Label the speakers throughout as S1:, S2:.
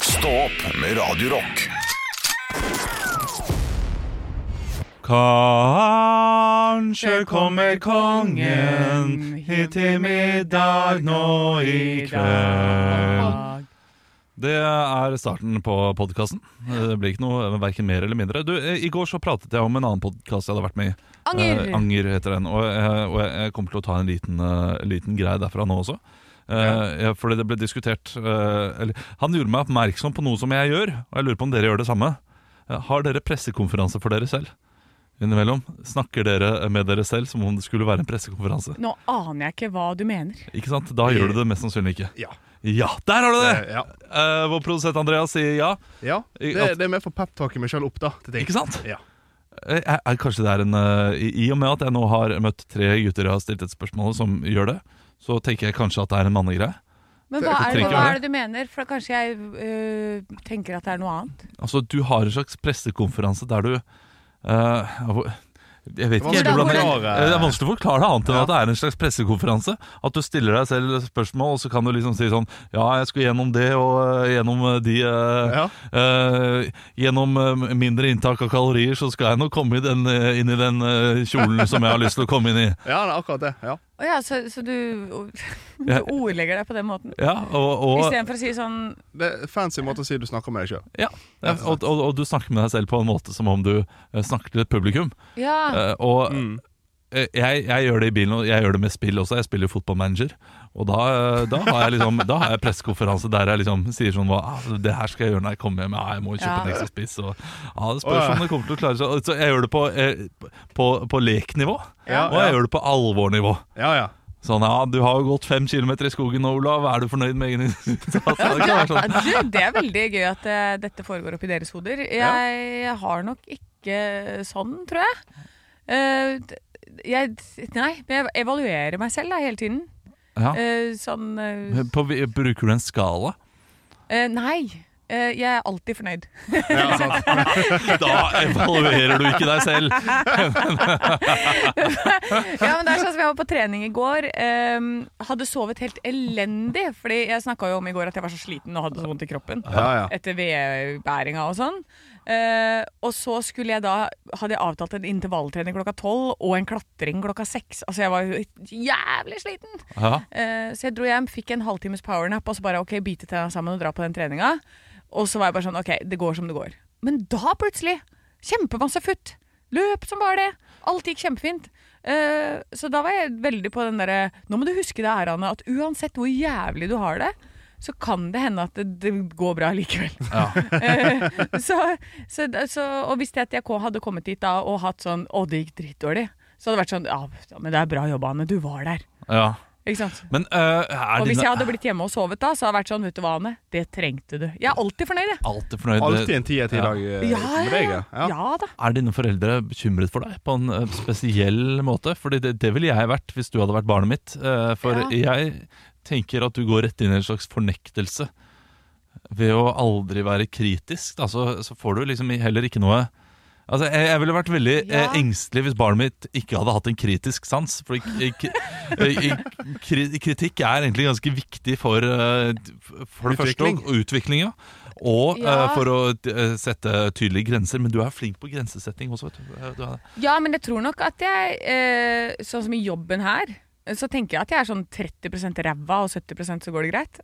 S1: Stå opp med Radio Rock.
S2: Kanskje kommer kongen hit til middag nå i kveld. Det er starten på podkasten. Det blir ikke noe verken mer eller mindre. Du, eh, I går så pratet jeg om en annen podkast jeg hadde vært med i.
S3: Anger.
S2: Eh, Anger heter den. Og, jeg- og jeg- jeg kommer til å ta en liten, eh, liten greie derfra nå også. Eh, ja, Fordi det ble diskutert eh, eller, Han gjorde meg oppmerksom på noe som jeg gjør, og jeg lurer på om dere gjør det samme. Eh, Har dere pressekonferanse for dere selv? Innimellom snakker dere med dere selv som om det skulle være en pressekonferanse.
S3: Nå aner jeg ikke hva du mener.
S2: Ikke sant? Da gjør du det mest sannsynlig ikke.
S4: Ja.
S2: Ja, der har du det!
S4: Eh, ja.
S2: Eh, vår produsent Andreas sier ja.
S4: ja. Det,
S2: At-
S4: det er med for peptalket meg sjøl opp, da. Til ting.
S2: Ikke sant?
S4: Ja.
S2: Eh, eh, eh, kanskje det er en eh, I i og med at jeg nå har møtt tre gutter jeg har stilt et spørsmål som gjør det, så tenker jeg kanskje at det er en mannegreie.
S3: Men hva
S2: trenger
S3: er, det,
S2: ikke
S3: hva
S2: være.
S3: er det du mener? For da kanskje jeg øh, tenker at det er noe annet.
S2: Altså, du har en slags pressekonferanse der du eh, hvor- Jeg vet ikke helt
S4: Vanskelig
S3: å
S2: hvordan det
S4: forklare.
S2: Eh, Det er vanskelig å forklare annet enn
S4: Ja.
S2: at det er en slags pressekonferanse. At du stiller deg selv spørsmål, og så kan du liksom si sånn Ja, jeg skulle gjennom det, og eh, gjennom eh, de eh,
S4: Ja.
S2: Eh, gjennom eh, mindre inntak av kalorier så skal jeg nok komme i den, eh, inn i den eh, kjolen som jeg har lyst til å komme inn i.
S4: ja, det er akkurat det. Ja.
S3: Å ja, så, så du, du
S2: Ja.
S3: ordlegger deg på den måten?
S2: Ja, og, og,
S3: Istedenfor å si sånn
S4: Det er fancy måte å si du snakker med deg sjøl.
S2: ja, ja, og, og, og du snakker med deg selv på en måte som om du eh, snakker til et publikum.
S3: Ja,
S2: Eh, og eh, jeg, jeg gjør det i bilen, og jeg gjør det med spill også. Jeg spiller jo fotballmanager. Og da, eh, da har jeg, liksom, da har jeg pressekonferanse der jeg liksom sier sånn hva, ah, Det her skal jeg gjøre når jeg kommer hjem. Ja, jeg må kjøpe
S3: Ja.
S2: en ekstra spiss. Og, ja, det spørs om det kommer til å klare seg. Og Så jeg gjør det på, eh, på, på leknivå,
S4: Ja,
S2: og jeg
S4: ja.
S2: gjør det på alvornivå.
S4: ja, ja.
S2: Sånn, ja, du har jo gått fem kilometer i skogen nå, Olav. Er du fornøyd med egen innsats? Det kan være
S3: Ja,
S2: sånn.
S3: du, det er veldig gøy at eh, dette foregår oppi deres hoder. Jeg har nok ikke sånn, tror jeg. Eh, d- jeg nei, men jeg evaluerer meg selv da, hele tiden.
S2: Ja.
S3: Eh, sånn eh,
S2: På, bruker du en skala?
S3: eh, Nei. Eh, jeg er alltid fornøyd.
S4: ja sant.
S2: Da evaluerer du ikke deg selv.
S3: Ja, men det er sånn som Jeg var på trening i går. ehm, hadde sovet helt elendig. Fordi Jeg snakka jo om i går at jeg var så sliten og hadde så vondt i kroppen.
S4: Ja, ja.
S3: Etter vedbæringa og sånn. Eh, og så skulle jeg da hadde jeg avtalt en intervalltrening klokka tolv og en klatring klokka seks. Altså, jeg var jo jævlig sliten.
S2: Ja.
S3: Eh, så jeg dro hjem, fikk en halvtimes powernap og så bare ok, bite tenna sammen og dra på den treninga. Og så var jeg bare sånn ok, det går som det går. Men da plutselig kjempemasse futt. Løp som bare det. Alt gikk kjempefint. Eh, så da var jeg veldig på den derre Nå må du huske det her, Anne, at uansett hvor jævlig du har det, så kan det hende at det, det går bra likevel. Eh, så, så, så, og hvis det at jeg hadde kommet dit da og hatt sånn Å, det gikk dritdårlig. Så hadde det vært sånn Ja, men det er bra jobba, Anne. Du var der.
S2: ja.
S3: Ikke sant?
S2: Men øh, er
S3: Og hvis
S2: dine
S3: jeg hadde blitt hjemme og sovet da, så hadde jeg vært sånn, vet du hva, Anne, det trengte du. Jeg er alltid fornøyd, jeg.
S2: alltid fornøyd?
S4: Alltid en tier til i dag eh, med deg.
S3: ja.
S4: ja. Ja.
S3: ja da.
S2: Er dine foreldre bekymret for deg på en øh, spesiell måte? Fordi det, det ville jeg vært hvis du hadde vært barnet mitt. Eh, for jeg tenker at du går rett inn i en slags fornektelse. Ved å aldri være kritisk, da, så, så får du liksom heller ikke noe Altså, jeg, jeg ville vært veldig
S3: Ja.
S2: eh, engstelig hvis barnet mitt ikke hadde hatt en kritisk sans. For k k eh, kri kritikk er egentlig ganske viktig for, eh, for det første
S4: Utvikling.
S2: og utviklinga. Og eh,
S3: Ja.
S2: for å eh, sette tydelige grenser. Men du er flink på grensesetting også. vet du. Eh, du er,
S3: Ja, men jeg tror nok at jeg, eh, sånn som i jobben her, så tenker jeg at jeg er sånn 30 ræva, og 70 så går det greit.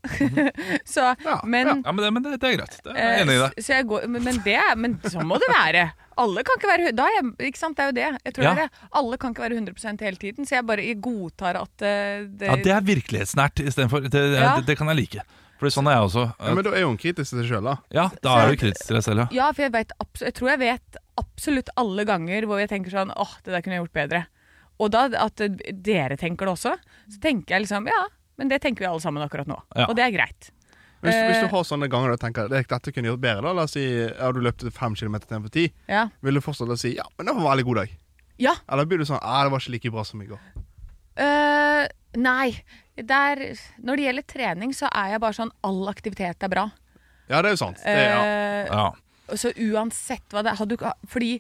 S3: så,
S4: Ja,
S3: men,
S2: ja, men, det, men det, det er greit. Det er
S3: eh,
S2: jeg enig i deg.
S3: så jeg går, men, men det er- men sånn må det være. Alle kan ikke være hu- da er jeg, Ikke sant, det er jo det. Jeg tror
S2: Ja.
S3: det er det. Alle kan ikke være 100 hele tiden, så jeg bare jeg godtar at eh, det,
S2: Ja, det er virkelighetsnært istedenfor. Det, det,
S3: Ja.
S2: det, det kan jeg like. For sånn er jeg også.
S4: Ja, men da er jo hun kritisk til seg sjøl, da.
S2: Ja, da er du kritisk til deg selv, ja.
S3: Ja, for jeg, vet, abs- jeg tror jeg vet absolutt alle ganger hvor jeg tenker sånn åh, det der kunne jeg gjort bedre. Og da at eh, dere tenker det også, så tenker jeg liksom ja, men det tenker vi alle sammen akkurat nå.
S2: Ja.
S3: Og det er greit.
S4: Hvis, hvis
S3: Eh.
S4: du har sånne ganger du tenker at dette kunne jeg gjort bedre, da. La oss si ja, du løpte fem kilometer istedenfor ti.
S3: Ja.
S4: Vil du fortsatt si ja, men det var en veldig god dag?
S3: ja
S4: Eller blir du sånn ja, det var ikke like bra som i går?
S3: øh, nei. Der, når det gjelder trening, så er jeg bare sånn all aktivitet er bra.
S4: Ja, det er jo sant. Det, ja.
S3: Eh,
S2: ja.
S3: Så uansett hva det har du, Fordi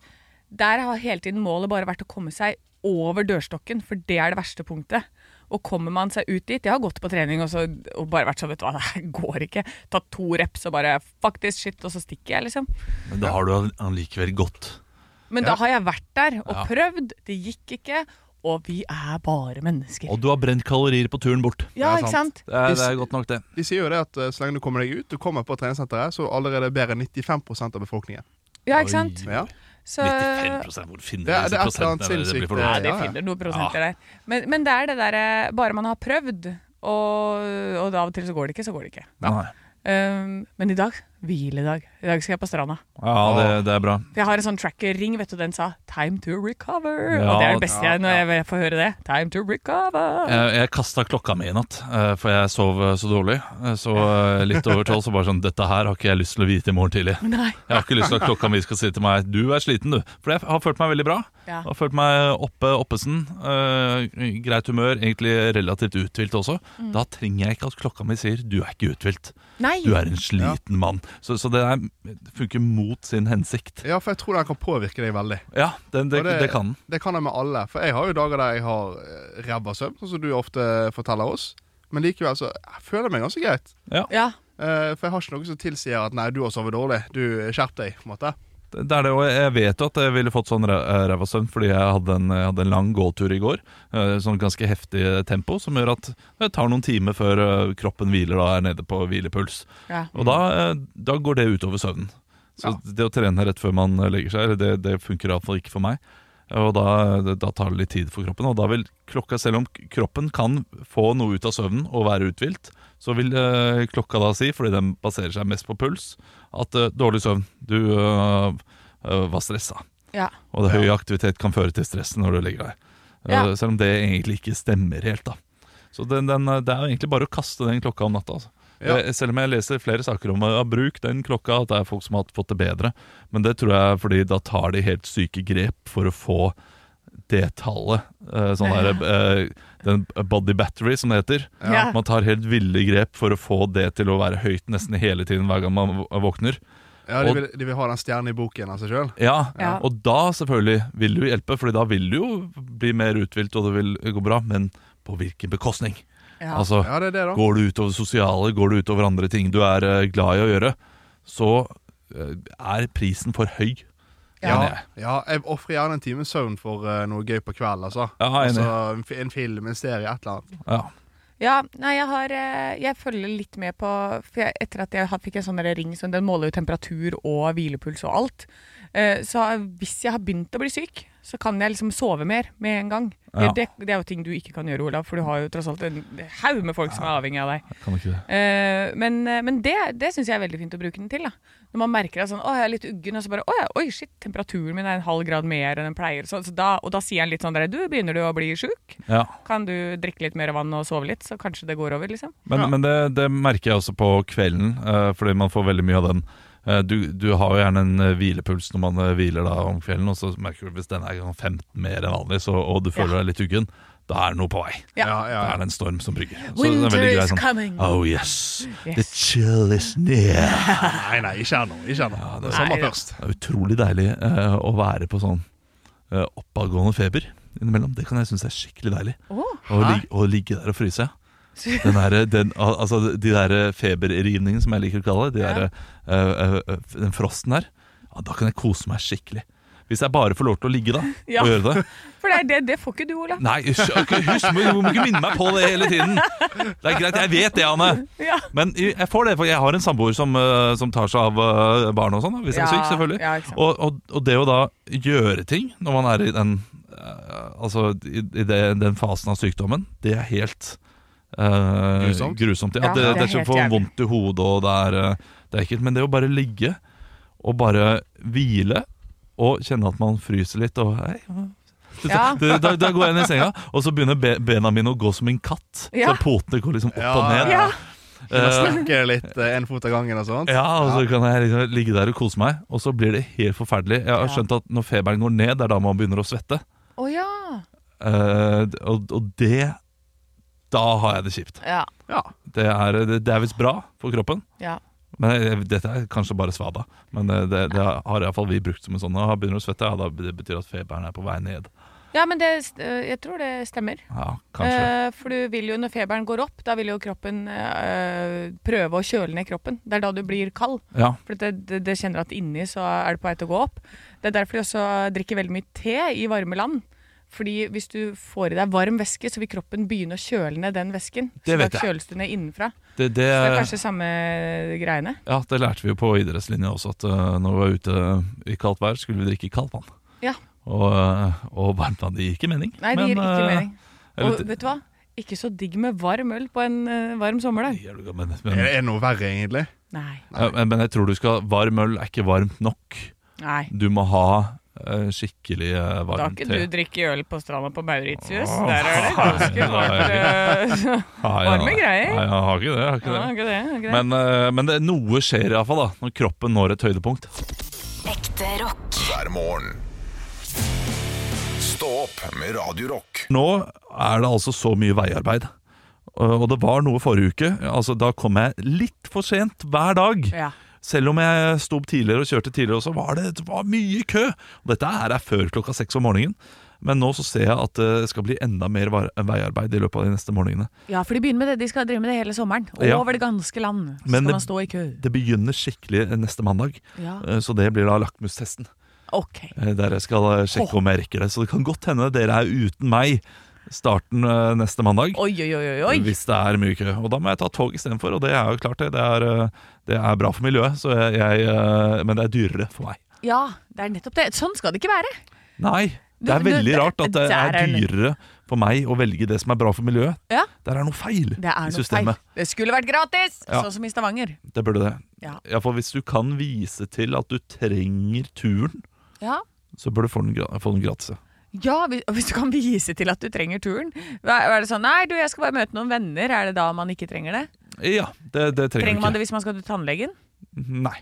S3: der har hele tiden målet bare vært å komme seg over dørstokken, for det er det verste punktet. Og kommer man seg ut dit Jeg har gått på trening og, så, og bare vært sånn, vet du hva, det her går ikke. Tatt to reps og bare fuck this shit, og så stikker jeg, liksom.
S2: Men da har du all- allikevel gått.
S3: Men
S4: Ja.
S3: da har jeg vært der og
S2: Ja.
S3: prøvd. Det gikk ikke. Og vi er bare mennesker.
S2: Og du har brent kalorier på turen bort.
S3: ja,
S4: det er
S3: ikke
S4: sant.
S3: sant?
S2: Det er, det er godt nok, det.
S4: De sier jo det at eh, så lenge du kommer deg ut, du kommer på treningssenteret, så allerede bedre enn 95 av befolkningen.
S3: Ja, ikke sant?
S4: Ja.
S3: Så,
S2: 95 Hvor finner
S4: Det er-
S2: du disse
S4: det er et eller
S2: prosentene? Det
S4: annet
S2: blir for
S4: sinnssykt, eh,
S2: dårlig.
S3: Nei, det
S4: Ja, ja.
S3: finner noen prosenter der. Men, men det er det derre Bare man har prøvd, og, og av og til så går det ikke, så går det ikke.
S2: Nei.
S3: Um, men i dag hviledag. I dag skal jeg på stranda.
S2: Ja, det, det er bra.
S3: For jeg har en sånn tracker-ring, vet du, den sa 'time to recover'.
S2: Ja,
S3: og det er det beste
S4: ja,
S3: jeg når jeg får høre det. Time to recover.
S2: Jeg, Eh, jeg kasta klokka mi i natt, eh, for jeg sov eh, så dårlig. Eh, Så eh, litt over tolv så bare sånn Dette her har ikke jeg lyst til å vite i morgen tidlig.
S3: Nei.
S2: Jeg har ikke lyst til at klokka mi skal si til meg Du er sliten, du. For jeg har følt meg veldig bra.
S3: Ja.
S2: Jeg har følt meg oppe oppesen. eh, greit humør, egentlig relativt uthvilt også. Da trenger jeg ikke at klokka mi sier 'du er ikke uthvilt',
S3: Nei.
S2: du er en sliten mann. Så, så det der funker mot sin hensikt.
S4: ja, for jeg tror den kan påvirke deg veldig.
S2: Ja, den, det,
S4: Og
S2: det kan den.
S4: Det kan jeg med alle. For jeg har jo dager der jeg har eh, ræva søvn, sånn som du ofte forteller oss. Men likevel så jeg føler jeg meg ganske greit.
S3: Ja.
S4: Eh, for jeg har ikke noe som tilsier at 'nei, du har sovet dårlig', du skjerp deg. på en måte
S2: Det er det, og jeg vet jo at jeg ville fått sånn ræ- ræva søvn fordi jeg hadde en, jeg hadde en lang gåtur i går. eh, Sånn ganske heftig tempo, som gjør at det tar noen timer før eh, kroppen hviler og er nede på hvilepuls.
S3: ja.
S2: Og da, eh, da går det utover søvnen. Så det å trene rett før man eh, legger seg, det, det funker iallfall ikke for meg. Og da, eh, da tar det litt tid for kroppen. Og da vil klokka, selv om kroppen kan få noe ut av søvnen og være uthvilt, så vil eh, klokka da si, fordi den baserer seg mest på puls, at eh, dårlig søvn, du eh, eh, var stressa.
S3: Ja.
S2: Og det høy aktivitet kan føre til stress når du legger deg. Eh,
S3: Ja.
S2: Selv om det egentlig ikke stemmer helt, da. Så den, den, eh, det er jo egentlig bare å kaste den klokka om natta. Altså.
S4: Ja.
S2: Eh, Selv om jeg leser flere saker om å bruk den klokka, at det er folk som har fått det bedre. Men det tror jeg er fordi da tar de helt syke grep for å få det tallet. eh, Sånn
S3: Ja.
S2: her, eh, den body battery, som det heter.
S3: Ja.
S2: Man tar helt ville grep for å få det til å være høyt nesten hele tiden hver gang man vå- våkner.
S4: Ja, de
S2: Og-
S4: vil, de vil ha den stjernen i boken av seg sjøl.
S2: Ja,
S3: Ja.
S2: og da selvfølgelig vil det jo hjelpe, Fordi da vil det jo bli mer uthvilt og det vil gå bra, men på hvilken bekostning?
S3: Ja.
S2: Altså,
S4: Ja, det er det, da.
S2: går det utover det sosiale, går det utover andre ting du er eh, glad i å gjøre, så eh, er prisen for høy.
S4: Ja,
S2: Enig jeg.
S4: ja jeg ofrer gjerne en times søvn for eh, noe gøy på kvelden, altså.
S2: Ja, enig.
S4: altså en, fi- en film, en serie, et eller annet.
S2: Ja.
S3: Ja, nei, jeg har eh, Jeg følger litt med på For jeg, etter at jeg har- fikk en sånn der ring som den måler jo temperatur og hvilepuls og alt, eh, så hvis jeg har begynt å bli syk, så kan jeg liksom sove mer med en gang.
S2: Ja.
S3: Det, det, det er jo ting du ikke kan gjøre, Olav, for du har jo tross alt en haug med folk som er avhengig av deg.
S2: Jeg kan ikke det.
S3: Eh, men eh, men det, det syns jeg er veldig fint å bruke den til. Da. Når man merker at sånn, å, jeg er litt uggen, og så bare å, ja, oi, shit, temperaturen min er en halv grad mer enn den pleier. Så, så da, og da sier han litt sånn der, du, begynner du å bli sjuk?
S2: Ja.
S3: Kan du drikke litt mer vann og sove litt, så kanskje det går over, liksom?
S2: Men,
S4: Ja.
S2: men det, det merker jeg også på kvelden, eh, fordi man får veldig mye av den. Eh, du, du har jo gjerne en eh, hvilepuls når man eh, hviler da om kvelden, og så merker du hvis den er sånn 15 mer enn vanlig, så, og du føler deg litt uggen, da er det noe på vei.
S3: Ja.
S4: Ja, ja,
S2: Da er
S4: ja.
S2: det en storm som brygger. Så den er
S3: Winter
S2: veldig grei
S3: is
S2: sånn,
S3: coming.
S2: Oh yes, the
S3: Yes.
S2: chill is near.
S4: Nei, nei, ikke ennå. Ikke ennå. det er sommer
S3: Nei, ja.
S4: først.
S2: Det er utrolig deilig eh, å være på sånn eh, oppadgående feber innimellom. Det kan jeg synes er skikkelig deilig.
S3: Å,
S2: Å, lig, å ligge der og fryse. Den der, den, al- altså, de der feberrivningene som jeg liker å kalle det, de der, eh, eh, f- den frosten der, ja, da kan jeg kose meg skikkelig. Hvis jeg bare får lov til å ligge da,
S3: Ja.
S2: og gjøre det.
S3: for det, er det, det får ikke du, Olav.
S2: Nei, hysj, ok, hysj, du må ikke minne meg på det hele tiden. Det er greit, jeg vet det, Anne.
S3: Ja.
S2: Men jeg får det, for jeg har en samboer som, eh, som tar seg av eh, barn og sånn, hvis jeg er
S3: Ja,
S2: syk, selvfølgelig.
S3: ja, ikke sant.
S2: og, og, og det å da gjøre ting når man er i den, eh, altså, i, i det, den fasen av sykdommen, det er helt eh,
S4: Grusomt.
S2: grusomt. Ja,
S3: Ja,
S2: det,
S3: det er
S2: det er så
S3: helt
S2: får
S3: jævlig.
S2: vondt i hodet, og det er, eh, det er ekkelt. Men det å bare ligge og bare hvile og kjenne at man fryser litt og hei,
S3: Ja.
S2: da, da, da går jeg ned i senga, og så begynner be, bena mine å gå som en katt.
S3: Ja.
S2: Så potene går liksom opp
S4: Ja,
S2: og ned.
S3: Ja.
S4: Kunne
S2: Eh,
S4: snakke litt eh, en fot av gangen og sånt.
S2: ja, og så kan jeg liksom ligge der og kose meg, og så blir det helt forferdelig. Jeg har
S3: Ja.
S2: skjønt at når feberen går ned, det er da man begynner å svette.
S3: Å ja.
S2: Eh, og, og det Da har jeg det kjipt.
S3: Ja.
S4: Ja.
S2: Det er, det, det er visst bra for kroppen.
S3: ja.
S2: Men jeg, dette er kanskje bare svada. eh, Men det, det, det har iallfall vi brukt som en sånn. «Å, Begynner du å svette, ja, da, det betyr at feberen er på vei ned.
S3: Ja, Ja, men det, st- øh, jeg tror det stemmer.
S2: Ja, kanskje.
S3: Eh, for du vil jo, når feberen går opp, da vil jo kroppen eh, prøve å kjøle ned kroppen. Det er da du blir kald.
S2: Ja.
S3: For det, det, det kjenner at inni så er det på vei til å gå opp. Det er derfor de også drikker veldig mye te i varme land. Fordi hvis du får i deg varm væske, så vil kroppen begynne å kjøle ned den væsken.
S2: Det
S3: så
S2: vet
S3: da
S2: jeg. Eh.
S3: kjøles du ned innenfra.
S2: Det, det,
S3: Så det er kanskje samme greiene.
S2: ja, det lærte vi jo på idrettslinja også, at eh, når vi var ute i kaldt vær, skulle vi drikke kaldt vann.
S3: Ja.
S2: Og, eh, og varmt vann. Det gir ikke mening.
S3: Nei, det
S2: men,
S3: gir ikke
S2: eh,
S3: mening.
S2: eller-
S3: Og vet du hva? Ikke så digg med varm øl på en eh, varm sommerdag.
S2: Gir du- Men,
S4: Er
S2: men,
S4: det er det noe verre, egentlig?
S3: Nei.
S2: ja, men- men jeg tror du skal Varm øl er ikke varmt nok.
S3: Nei.
S2: Du må ha eh, skikkelig eh,
S3: Da har
S2: varm
S3: ikke
S2: te.
S3: du drikke øl på stranda på Mauritius.
S2: Åh,
S3: Der er det
S2: nei,
S3: ganske hardt. eh,
S2: Nei,
S3: varme
S2: nei,
S3: greier.
S2: Nei, jeg har ikke det. Jeg har ikke
S3: Ja,
S2: det.
S3: ikke det, ikke det.
S2: Men, eh, men det, noe skjer iallfall når kroppen når et høydepunkt.
S5: Ekte rock.
S1: hver morgen. Stå opp med Radio Rock.
S2: Nå er det altså så mye veiarbeid. Eh, Og det var noe forrige uke. Altså, da kom jeg litt for sent hver dag.
S3: ja.
S2: Selv om jeg sto opp tidligere og kjørte tidligere, også, var det, det var mye kø. Og dette er jeg før klokka seks om morgenen. Men nå så ser jeg at eh, det skal bli enda mer var- veiarbeid i løpet av de neste morgenene.
S3: Ja, for de begynner med det. De skal drive med det hele sommeren.
S2: Ja.
S3: Over det ganske land skal
S2: Men det-
S3: man stå i kø.
S2: Det begynner skikkelig eh, neste mandag,
S3: Ja.
S2: eh, så det blir da lakmustesten.
S3: Ok.
S2: eh, Der jeg skal eh, sjekke om jeg rekker det. Så det kan godt hende dere er uten meg starten eh, neste mandag.
S3: Oi, oi, oi, oi, oi.
S2: Hvis det er mye kø. Og da må jeg ta tog istedenfor, og det er jo klart det. Det er, eh, det er bra for miljøet, så jeg, jeg, eh, men det er dyrere for meg.
S3: Ja, det er nettopp det. Sånn skal det ikke være.
S2: Nei, det er
S3: Du- du-
S2: veldig
S3: det-
S2: rart at det
S3: der er
S2: er
S3: det-
S2: dyrere for meg å velge det som er bra for miljøet.
S3: Ja.
S2: Der er noe feil
S3: Det er
S2: i
S3: noe feil.
S2: systemet.
S3: Det skulle vært gratis,
S2: Ja.
S3: sånn som i Stavanger.
S2: Det burde det.
S3: Ja.
S2: Ja, for hvis du kan vise til at du trenger turen,
S3: Ja.
S2: så bør du få den, gra- få den gratis. ja.
S3: Ja, hvis, og hvis du kan vise til at du trenger turen. Hva- Er det sånn 'nei, du, jeg skal bare møte noen venner', er det da man ikke trenger det?
S2: Ja, det, det trenger,
S3: Trenger man
S2: du
S3: det
S2: ikke.
S3: hvis man skal til tannlegen?
S2: Nei.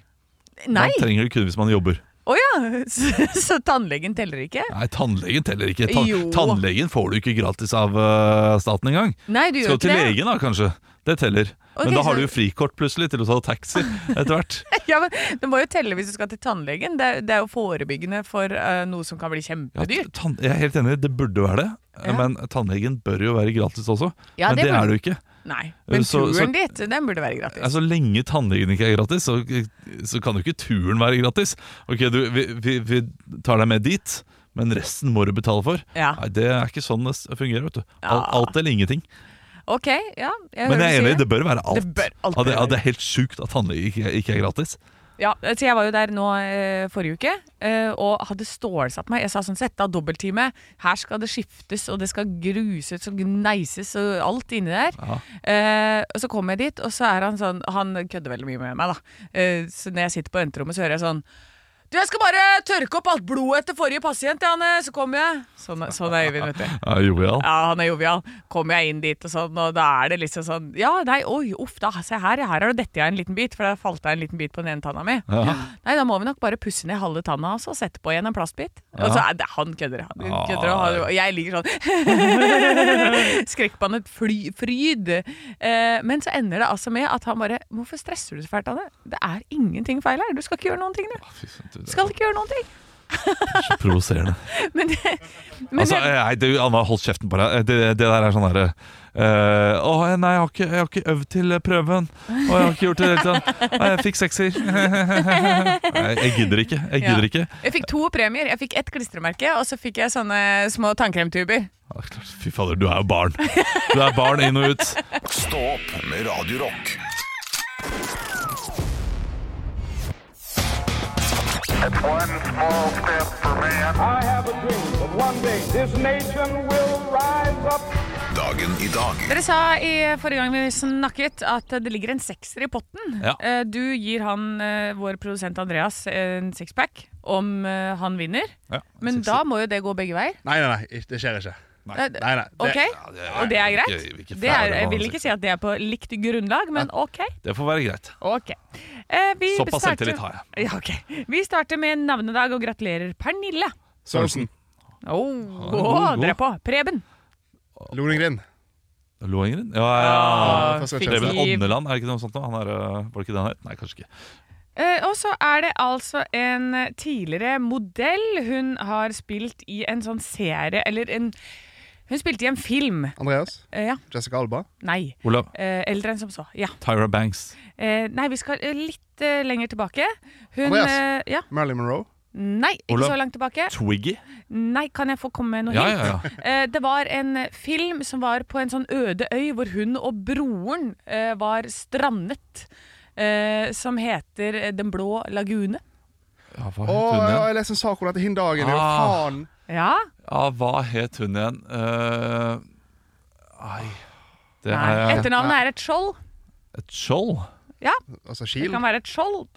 S3: Nei!
S2: Man trenger det kun hvis man jobber.
S3: Å ja! Så, så tannlegen teller ikke?
S2: Nei, tannlegen teller ikke. Tan
S3: Jo.
S2: tannlegen får du ikke gratis av eh, staten engang.
S3: Nei, du gjør
S2: Skal
S3: ikke
S2: til
S3: det.
S2: legen da, kanskje. Det teller.
S3: Ok,
S2: Men da
S3: så-
S2: har du jo frikort plutselig til å ta taxi etter hvert.
S3: Ja, men Du må jo telle hvis du skal til tannlegen. Det, er- det er jo forebyggende for eh, noe som kan bli
S2: Ja,
S3: kjempedyrt.
S2: tann- jeg er helt enig, det burde være det.
S3: Ja.
S2: Men tannlegen bør jo være gratis også.
S3: Ja,
S2: men det,
S3: burde-
S2: er det jo ikke.
S3: Nei, Altså, men
S2: Så- så-
S3: turen dit, den burde være gratis.
S2: Så lenge tannlegen ikke er gratis, så, så kan jo ikke turen være gratis. Ok, du, vi, vi, vi tar deg med dit, men resten må du betale for.
S3: Ja.
S2: Nei, Det er ikke sånn det s- fungerer. vet du Al,
S3: Ja.
S2: Alt eller ingenting.
S3: Ok, ja. Jeg
S2: Men
S3: hører
S2: jeg er
S3: du
S2: enig,
S3: sier
S2: det bør være alt.
S3: Det bør alt
S2: ja, det,
S3: være.
S2: ja, det er helt sjukt at tannlege ikke, ikke er gratis.
S3: Ja, så jeg var jo der nå eh, forrige uke eh, og hadde stålsatt meg. Jeg sa sånn sett av dobbelttime. Her skal det skiftes, og det skal gruses og gneises og alt inni der.
S2: Ja.
S3: Eh, og så kommer jeg dit, og så er han sånn Han kødder veldig mye med meg, da. Eh, så når jeg sitter på venterommet, så hører jeg sånn du, jeg skal bare tørke opp alt blodet etter forrige pasient, ja, Anne, så kommer jeg. Sånn, er- sånn er Øyvind, vet du.
S2: Ja, jovial.
S3: Ja, han er jovial. Kommer jeg inn dit og sånn, og da er det liksom sånn Ja, nei, oi, uff da, se her, ja, her har du dette jeg en liten bit, for der falt jeg en liten bit på den ene tanna mi.
S2: Ja.
S3: Nei, da må vi nok bare pusse ned halve tanna hans og sette på igjen en plastbit. Og så er det, han kødder, han
S2: Ja.
S3: kødder, og, han, og jeg ligger sånn Skrekkbannet fly, fryd. Eh, men så ender det altså med at han bare Hvorfor stresser du så fælt, Anne? Det er ingenting feil her. Du skal ikke gjøre noen ting, du.
S2: Fy søren, du, Ah, det er
S3: Skal ikke gjøre noen ting.
S2: så provoserende.
S3: Men, men
S2: altså, nei, det, Anna, hold kjeften på deg. Det, det der er sånn derre eh, Å nei, jeg har, ikke, jeg har ikke øvd til prøven. Og jeg har ikke gjort det hele tiden. Nei, jeg fikk sekser. Nei, jeg gidder ikke. Jeg
S3: Ja.
S2: gidder ikke.
S3: Jeg fikk to premier. Jeg fikk ett klistremerke, og så fikk jeg sånne små tannkremtuber.
S2: Ja, klart. Fy fader, du er jo barn. Du er barn inn og ut.
S1: Stå opp med Radio Rock.
S6: One small step for man.
S7: I have a dream that one day this nation will rise up.
S1: Dagen i dag
S3: Dere sa i forrige gang vi snakket at det ligger en sekser i potten.
S2: Ja.
S3: Eh, Du gir han, eh, vår produsent Andreas, en sixpack om eh, han vinner.
S2: Ja,
S3: Men da må jo det gå begge veier.
S4: Nei, nei, nei, det skjer ikke.
S3: Nei,
S4: Nei, nei. Det,
S3: Eh, ok, Og det er
S2: ikke-
S3: greit?
S2: ikke
S3: Det er,
S2: fæle
S3: jeg vil
S2: vanlig
S3: ikke si at det er på likt grunnlag, men ok.
S2: Det får være greit.
S3: ok. Eh, vi
S2: Såpass
S3: starter-
S2: selvtillit har
S3: Ja, ok. Vi starter med navnedag og gratulerer Pernille.
S4: Sørensen.
S3: Åh,
S2: god,
S3: dere er
S2: god.
S3: på. Preben.
S4: Lodengrind.
S2: Lohengrin? Ja, ja.
S4: først skal jeg
S2: Ah,
S3: fikk
S2: Preben
S3: vi-
S2: eh, Åndeland, er det ikke noe sånt? nå? Han er, øh, var det ikke det han het? Nei, kanskje ikke.
S3: Eh, og så er det altså en eh, tidligere modell. Hun har spilt i en sånn serie, eller en Hun spilte i en film.
S4: Andreas?
S3: Eh, ja.
S4: Jessica Alba?
S3: Nei.
S2: Olav.
S3: Eh, eldre enn som så. Ja.
S2: Tyra Banks.
S3: Eh, nei, vi skal eh, litt eh, lenger tilbake. Hun
S4: Andreas.
S3: eh, ja.
S4: Marilyn Monroe?
S3: Nei, ikke
S2: Olav.
S3: så langt tilbake.
S2: Twiggy.
S3: Nei, kan jeg få komme med noe
S2: Ja,
S3: hint?
S2: ja,
S3: Eh, det var en film som var på en sånn øde øy hvor hun og broren eh, var strandet. eh, som heter eh, Den blå lagune.
S2: Ja, hva
S4: Å,
S2: het hun
S4: ja,
S2: igjen?
S4: jeg leste en sak om dette hin dagen, jo.
S2: Ah.
S4: Faen.
S3: Ja,
S2: Ja, hva het hun igjen? Eh, Ai Det er
S3: Nei. Etternavnet er et skjold.
S2: et skjold.
S3: Ja,
S4: Altså
S3: det
S4: Kiel.
S3: kan være et skjold.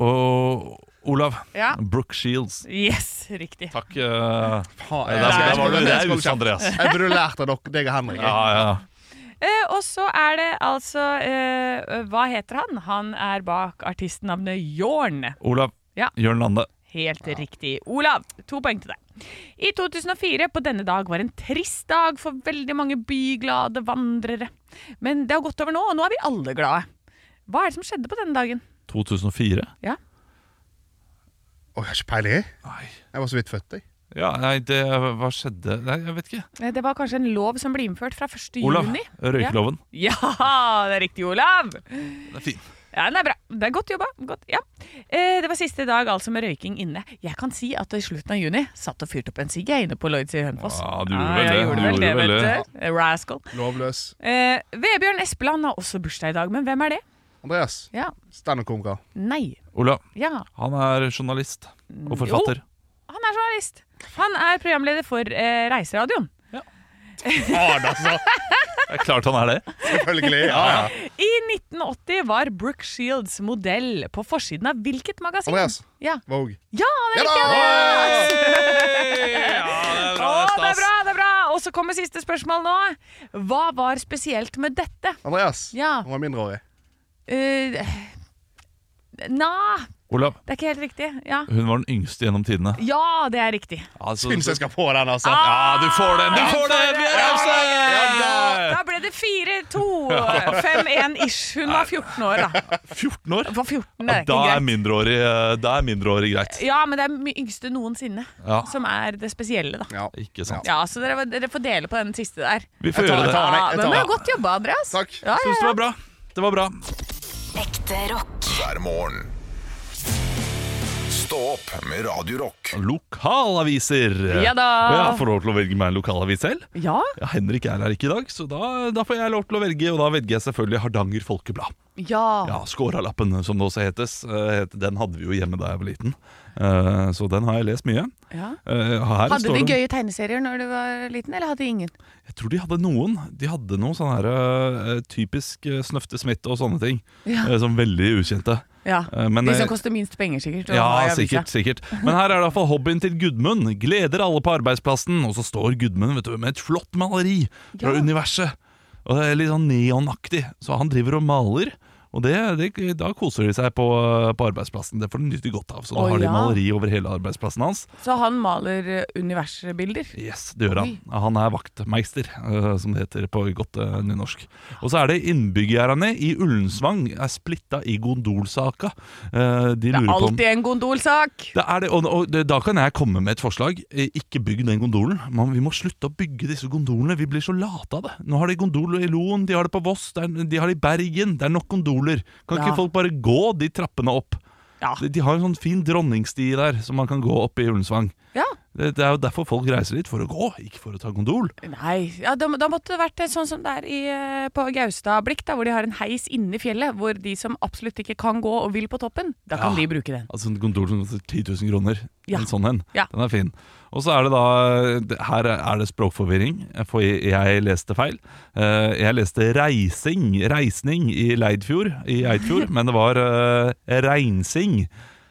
S2: Og Olav.
S3: Ja.
S2: Brooke Shields.
S3: Yes, riktig.
S2: Takk. eh,
S4: Faen,
S2: der,
S4: jeg-
S2: der var du,
S4: jeg-
S2: det
S4: jeg-
S2: er ute, Andreas.
S4: Jeg burde lært av dere, deg og Henrik.
S2: Ja, ja.
S3: Eh, og så er det altså eh, Hva heter han? Han er bak artistnavnet Jorn.
S2: Olav.
S3: Ja.
S2: Jørn Lande.
S3: Helt riktig. Olav, to poeng til deg. I 2004 på denne dag var en trist dag for veldig mange byglade vandrere. Men det har gått over nå, og nå er vi alle glade. Hva er det som skjedde på denne dagen?
S2: 2004?
S3: Ja,
S4: Å, jeg har ikke peiling. jeg.
S2: Nei.
S4: Jeg var så vidt født, jeg.
S2: Ja, nei, det Hva skjedde? Nei, jeg vet ikke.
S3: eh, Det var kanskje en lov som ble innført fra 1.
S2: Olav.
S3: juni.
S2: Røykeloven.
S3: Ja, det er riktig, Olav!
S2: Den er fin.
S3: Ja, den er bra. Det er godt jobba. Godt, ja. eh, det var siste dag altså med røyking inne. Jeg kan si at i slutten av juni satt og fyrte opp en sigg jeg inne på Lloyds i Hønefoss.
S2: Ja, du gjorde vel
S3: jeg
S2: det.
S3: Gjorde
S2: Du
S3: vel
S2: gjorde
S3: det,
S2: vel
S3: vet du. Eh, Rascal.
S4: Lovløs.
S3: Eh, Vebjørn Espeland har også bursdag i dag, men hvem er det?
S4: Andreas,
S3: Ja.
S4: standup-komiker.
S3: Nei.
S2: Olav.
S3: Ja.
S2: Han er journalist og forfatter.
S3: Han er journalist. Han er programleder for eh, Reiseradioen.
S4: Faen, altså!
S2: Det er klart han er det.
S4: Selvfølgelig. Ja, ja.
S3: I 1980 var Brooke Shields modell på forsiden av hvilket magasin?
S4: Andreas.
S3: Ja,
S4: Vogue.
S3: ja det er
S4: Ja da!
S3: riktig! Andreas!
S2: Ja,
S3: Å, det er bra, det er bra! Og så kommer siste spørsmål nå. Hva var spesielt med dette?
S4: Andreas,
S3: Ja.
S4: han var mindreårig.
S3: Eh, Nja,
S2: Olav.
S3: det er ikke helt riktig. Ja,
S2: Hun var den yngste gjennom tidene.
S3: ja det er riktig.
S2: Altså,
S4: Syns jeg skal få den, altså.
S3: Ah.
S2: Ja, du får den! Du får den! Vi er rause!
S3: Da ble det 4-2-5-1-ish. Hun var 14 år, da.
S2: 14 år?
S3: Hun var 14, det
S2: Ja,
S3: er
S2: da
S3: ikke
S2: er
S3: greit.
S2: mindreårig eh, Da er mindreårig greit.
S3: Ja, men det er my- yngste noensinne
S2: Ja.
S3: som er det spesielle, da.
S4: Ja.
S2: Ikke sant.
S3: Ja, så dere, dere får dele på den siste der.
S2: Vi får gjøre
S4: Jeg tar- jeg
S2: det.
S4: tar-
S3: Ja,
S4: jeg
S3: men det
S4: tar-
S3: er godt jobba, Andreas.
S4: Takk.
S3: Ja, ja,
S2: Syns det
S3: ja.
S2: var bra. Det var bra.
S5: Ekte rock.
S1: hver morgen. Stå opp med Radio Rock.
S2: Lokalaviser.
S3: Ja da.
S2: Og jeg får lov til å velge meg en lokalavis selv.
S3: Ja,
S2: Ja, Henrik er her ikke i dag, så da, da får jeg lov til å velge. Og da velger jeg selvfølgelig Hardanger Folkeblad.
S3: ja.
S2: Ja, Skåralappen, som det også hetes. eh, het- Den hadde vi jo hjemme da jeg var liten, Eh, så den har jeg lest mye.
S3: ja.
S2: Eh, Her
S3: Hadde
S2: står
S3: de
S2: det-
S3: gøye tegneserier når du var liten, eller hadde de ingen?
S2: Jeg tror de hadde noen. De hadde noen sånne her, eh, typisk eh, Snøfte Smith og sånne ting.
S3: Ja.
S2: eh, Som veldig ukjente.
S3: Ja,
S2: Eh, men,
S3: De
S2: eh,
S3: som koster minst penger, sikkert. å ha i
S2: Ja,
S3: avisa.
S2: sikkert, sikkert. Men her er det iallfall hobbyen til Gudmund. Gleder alle på arbeidsplassen. Og så står Gudmund vet du, med et flott maleri fra
S3: Ja.
S2: universet. Og det er Litt sånn neonaktig. Så han driver og maler. Og det, det, Da koser de seg på, på arbeidsplassen. Det får de nyte godt av. Så da
S3: Å,
S2: har de
S3: ja.
S2: maleri over hele arbeidsplassen hans.
S3: Så han maler eh, universbilder.
S2: Yes, det gjør han. Han er vaktmeister, eh, som det heter på godt eh, nynorsk. Og så er det innbyggerne i Ullensvang er splitta i gondolsaka. Eh, De
S3: Det er
S2: lurer på om
S3: alltid en gondolsak!
S2: det er det, og, og det, Da kan jeg komme med et forslag. Eh, Ikke bygg den gondolen. Man, vi må slutte å bygge disse gondolene. Vi blir så late av det. Nå har de gondol i Loen, de har det på Voss, det er, de har det i Bergen. Det er nok gondoler. Kan
S3: Ja.
S2: ikke folk bare gå de trappene opp?
S3: Ja.
S2: De, de har en sånn fin dronningsti der som man kan gå opp i Ullensvang.
S3: ja.
S2: Det, det er jo derfor folk reiser dit, for å gå, ikke for å ta gondol.
S3: Nei, ja, da, da måtte det vært eh, sånn som det er i, eh, på Gaustad Blikk, da, hvor de har en heis inne i fjellet, hvor de som absolutt ikke kan gå og vil på toppen, da kan
S2: Ja.
S3: de bruke den.
S2: Altså en gondol som koster 10 000 kroner.
S3: Ja.
S2: En sånn en.
S3: Ja.
S2: Den er fin. Og så er det da det- Her er det språkforvirring, for jeg, jeg leste feil. Eh, Jeg leste reising, reisning i Leidfjord, i Eidfjord, men det var eh, reinsing.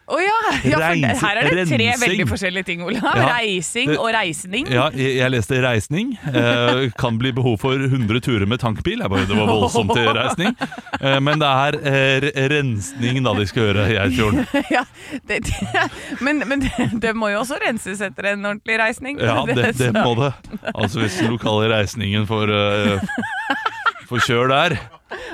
S3: Å ja! ja for det,
S2: Reins-
S3: her er det tre
S2: rensing.
S3: veldig forskjellige ting, Olav.
S2: Ja.
S3: Reising
S2: Det-
S3: og reisning.
S2: Ja, jeg, jeg leste reisning. Eh, Kan bli behov for 100 turer med tankbil. Jeg bare, det var voldsomt til reisning. Eh, Men det er eh, re- rensning da de skal gjøre i Eidfjorden.
S3: Ja, det, det, men men det, det må jo også renses etter en ordentlig reisning.
S2: Ja, det, det
S3: så-
S2: må det. Altså hvis den lokale reisningen får, eh, For kjør der.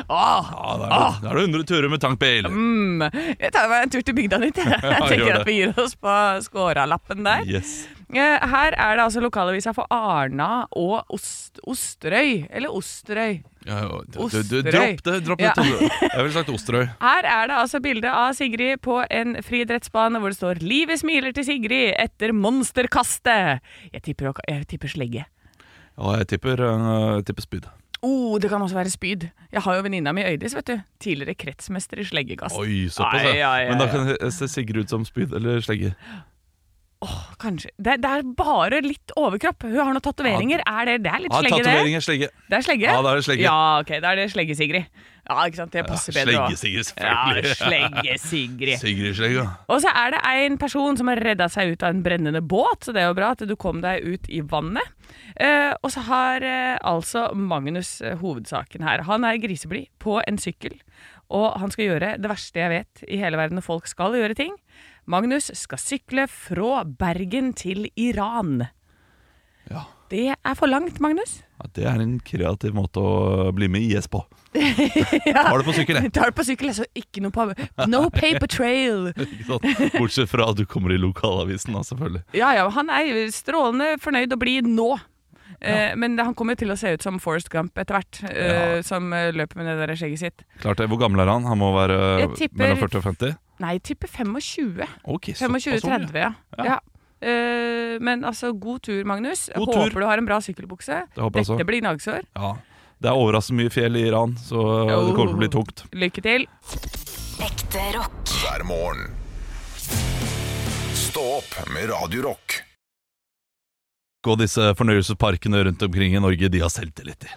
S3: Åh,
S2: Ja, da
S3: Ah!
S2: er det- da er det 100 turer med tankbil.
S3: mm. Jeg tar meg en tur til bygda litt. Jeg tenker
S2: gjør
S3: at vi gir oss på skåra-lappen der.
S2: Yes.
S3: Eh, Her er det altså lokalavisa for Arna og Ost Osterøy. Eller Osterøy.
S2: Ja, ja, du, du, du,
S3: Osterøy.
S2: dropp det. Dropp det
S3: Ja.
S2: Tone. Jeg ville sagt Osterøy.
S3: Her er det altså bilde av Sigrid på en friidrettsbane hvor det står 'Livet smiler til Sigrid etter monsterkastet'. Jeg tipper, ok- jeg tipper slegge.
S2: Ja, jeg tipper, eh, jeg tipper spyd.
S3: Oh, det kan også være spyd. Jeg har jo venninna mi Øydis, vet du. Tidligere kretsmester i sleggekast.
S2: Oi, såpass,
S3: Ai, ai,
S2: ja.
S3: ai,
S2: Men da
S3: ai.
S2: kan jeg se Sigrid ut som spyd eller slegge.
S3: Kanskje. Det, det er bare litt overkropp. Hun har noen tatoveringer. Er det, det er litt
S2: Ja,
S3: slegge, det?
S2: tatovering er slegge.
S3: Det er slegge?
S2: Ja, da er det slegge.
S3: Ja, ok, da er det slegge-Sigrid. Ja, ikke sant. Det
S2: Ja,
S3: passer bedre også.
S2: Slegge-Sigrid, selvfølgelig.
S3: Ja, slegge-Sigrid.
S2: Sigrid Slegge.
S3: Og så er det en person som har redda seg ut av en brennende båt, så det er jo bra at du kom deg ut i vannet. Eh, og så har eh, altså Magnus eh, hovedsaken her. Han er griseblid på en sykkel, og han skal gjøre det verste jeg vet i hele verden når folk skal gjøre ting. Magnus skal sykle fra Bergen til Iran.
S2: Ja.
S3: Det er for langt, Magnus.
S2: Ja, det er en kreativ måte å bli med i IS på. Har det på sykkel, jeg.
S3: Tar det på sykkel, så ikke noe pa- No paper trail!
S2: Ikke sant? Bortsett fra at du kommer i lokalavisen, da, selvfølgelig.
S3: Ja, ja, han er jo strålende fornøyd og blid nå. Eh, men han kommer jo til å se ut som Forrest Gump etter hvert, eh, som eh, løper med det der skjegget sitt.
S2: Klart det. Hvor gammel er han? Han må være
S3: Jeg tipper-
S2: mellom 40 og 50?
S3: Nei, jeg tipper 25.
S2: Ok, såpass ung, sånn, ja.
S3: 25-30, ja.
S2: Ja.
S3: ja. Eh, men altså, god tur, Magnus.
S2: God tur.
S3: håper du har en bra sykkelbukse.
S2: Det håper jeg
S3: Dette
S2: også.
S3: blir gnagsår.
S2: Ja. Det er overraskende mye fjell i Iran, så eh, det kommer til å bli tungt.
S3: Lykke til.
S5: Ekte rock.
S1: hver morgen. Stå opp med Radio Rock.
S2: Og disse fornøyelsesparkene rundt omkring i Norge, de har selvtillit, de.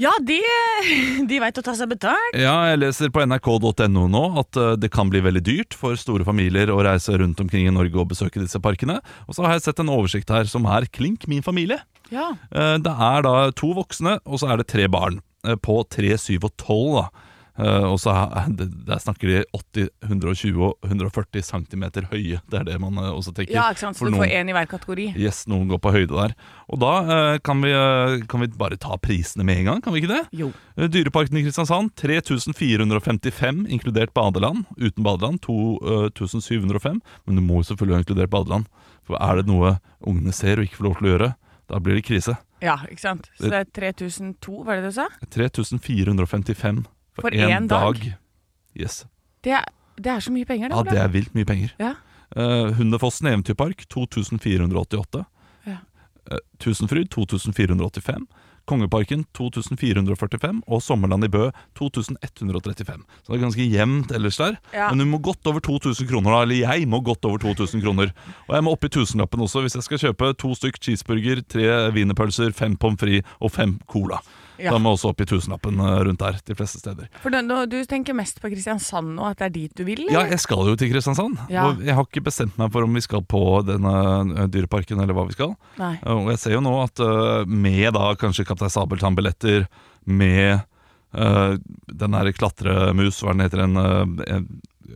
S3: Ja, de, de veit å ta seg betalt.
S2: Ja, jeg leser på nrk.no nå at eh, det kan bli veldig dyrt for store familier å reise rundt omkring i Norge og besøke disse parkene. Og så har jeg sett en oversikt her som er klink min familie.
S3: Ja.
S2: Eh, Det er da to voksne, og så er det tre barn eh, på 3, 7 og 12. Da. Eh, Og så er- det- Der snakker de 80, 120 og 140 cm høye. Det er det man eh, også tenker.
S3: ja, ikke sant. Så
S2: For
S3: du
S2: noen-
S3: får én i hver kategori.
S2: Yes, noen går på høyde der. Og da eh, kan, vi, eh, kan vi bare ta prisene med en gang, kan vi ikke det?
S3: Jo.
S2: Eh, Dyreparken i Kristiansand 3455, inkludert badeland. Uten badeland eh, 2705, men du må jo selvfølgelig ha inkludert badeland. For er det noe ungene ser og ikke får lov til å gjøre, da blir det krise.
S3: Ja, ikke sant. Så det er 3002, var det det du sa?
S2: 3455 for,
S3: For
S2: én
S3: én dag?
S2: dag. Yes.
S3: Det er, det er så mye penger, det.
S2: Ja,
S3: Olav.
S2: det er vilt mye penger.
S3: Ja.
S2: Eh, Hundefossen eventyrpark 2488.
S3: Ja.
S2: Eh, Tusenfryd 2485. Kongeparken 2445 og Sommerland i Bø 2135. Så det er ganske jevnt ellers der.
S3: Ja.
S2: Men du må godt over 2000 kroner, da. Eller jeg må godt over 2000 kroner. Og jeg må opp i tusenlappen også hvis jeg skal kjøpe to stykk cheeseburger, tre wienerpølser, fem pommes frites og fem cola.
S3: Ja.
S2: Da må jeg også opp i tusenlappen eh, rundt der de fleste steder.
S3: For du, nå- du tenker mest på Kristiansand nå, at det er dit du vil?
S2: Ja,
S3: eller?
S2: jeg skal jo til Kristiansand.
S3: Ja.
S2: Og jeg har ikke bestemt meg for om vi skal på denne ø, dyreparken eller hva vi skal. Eh,
S3: Nei.
S2: Og jeg ser jo nå at ø, med da kanskje Kaptein Sabeltann-billetter, med ø, den der klatremus, hva den heter, en, ø, en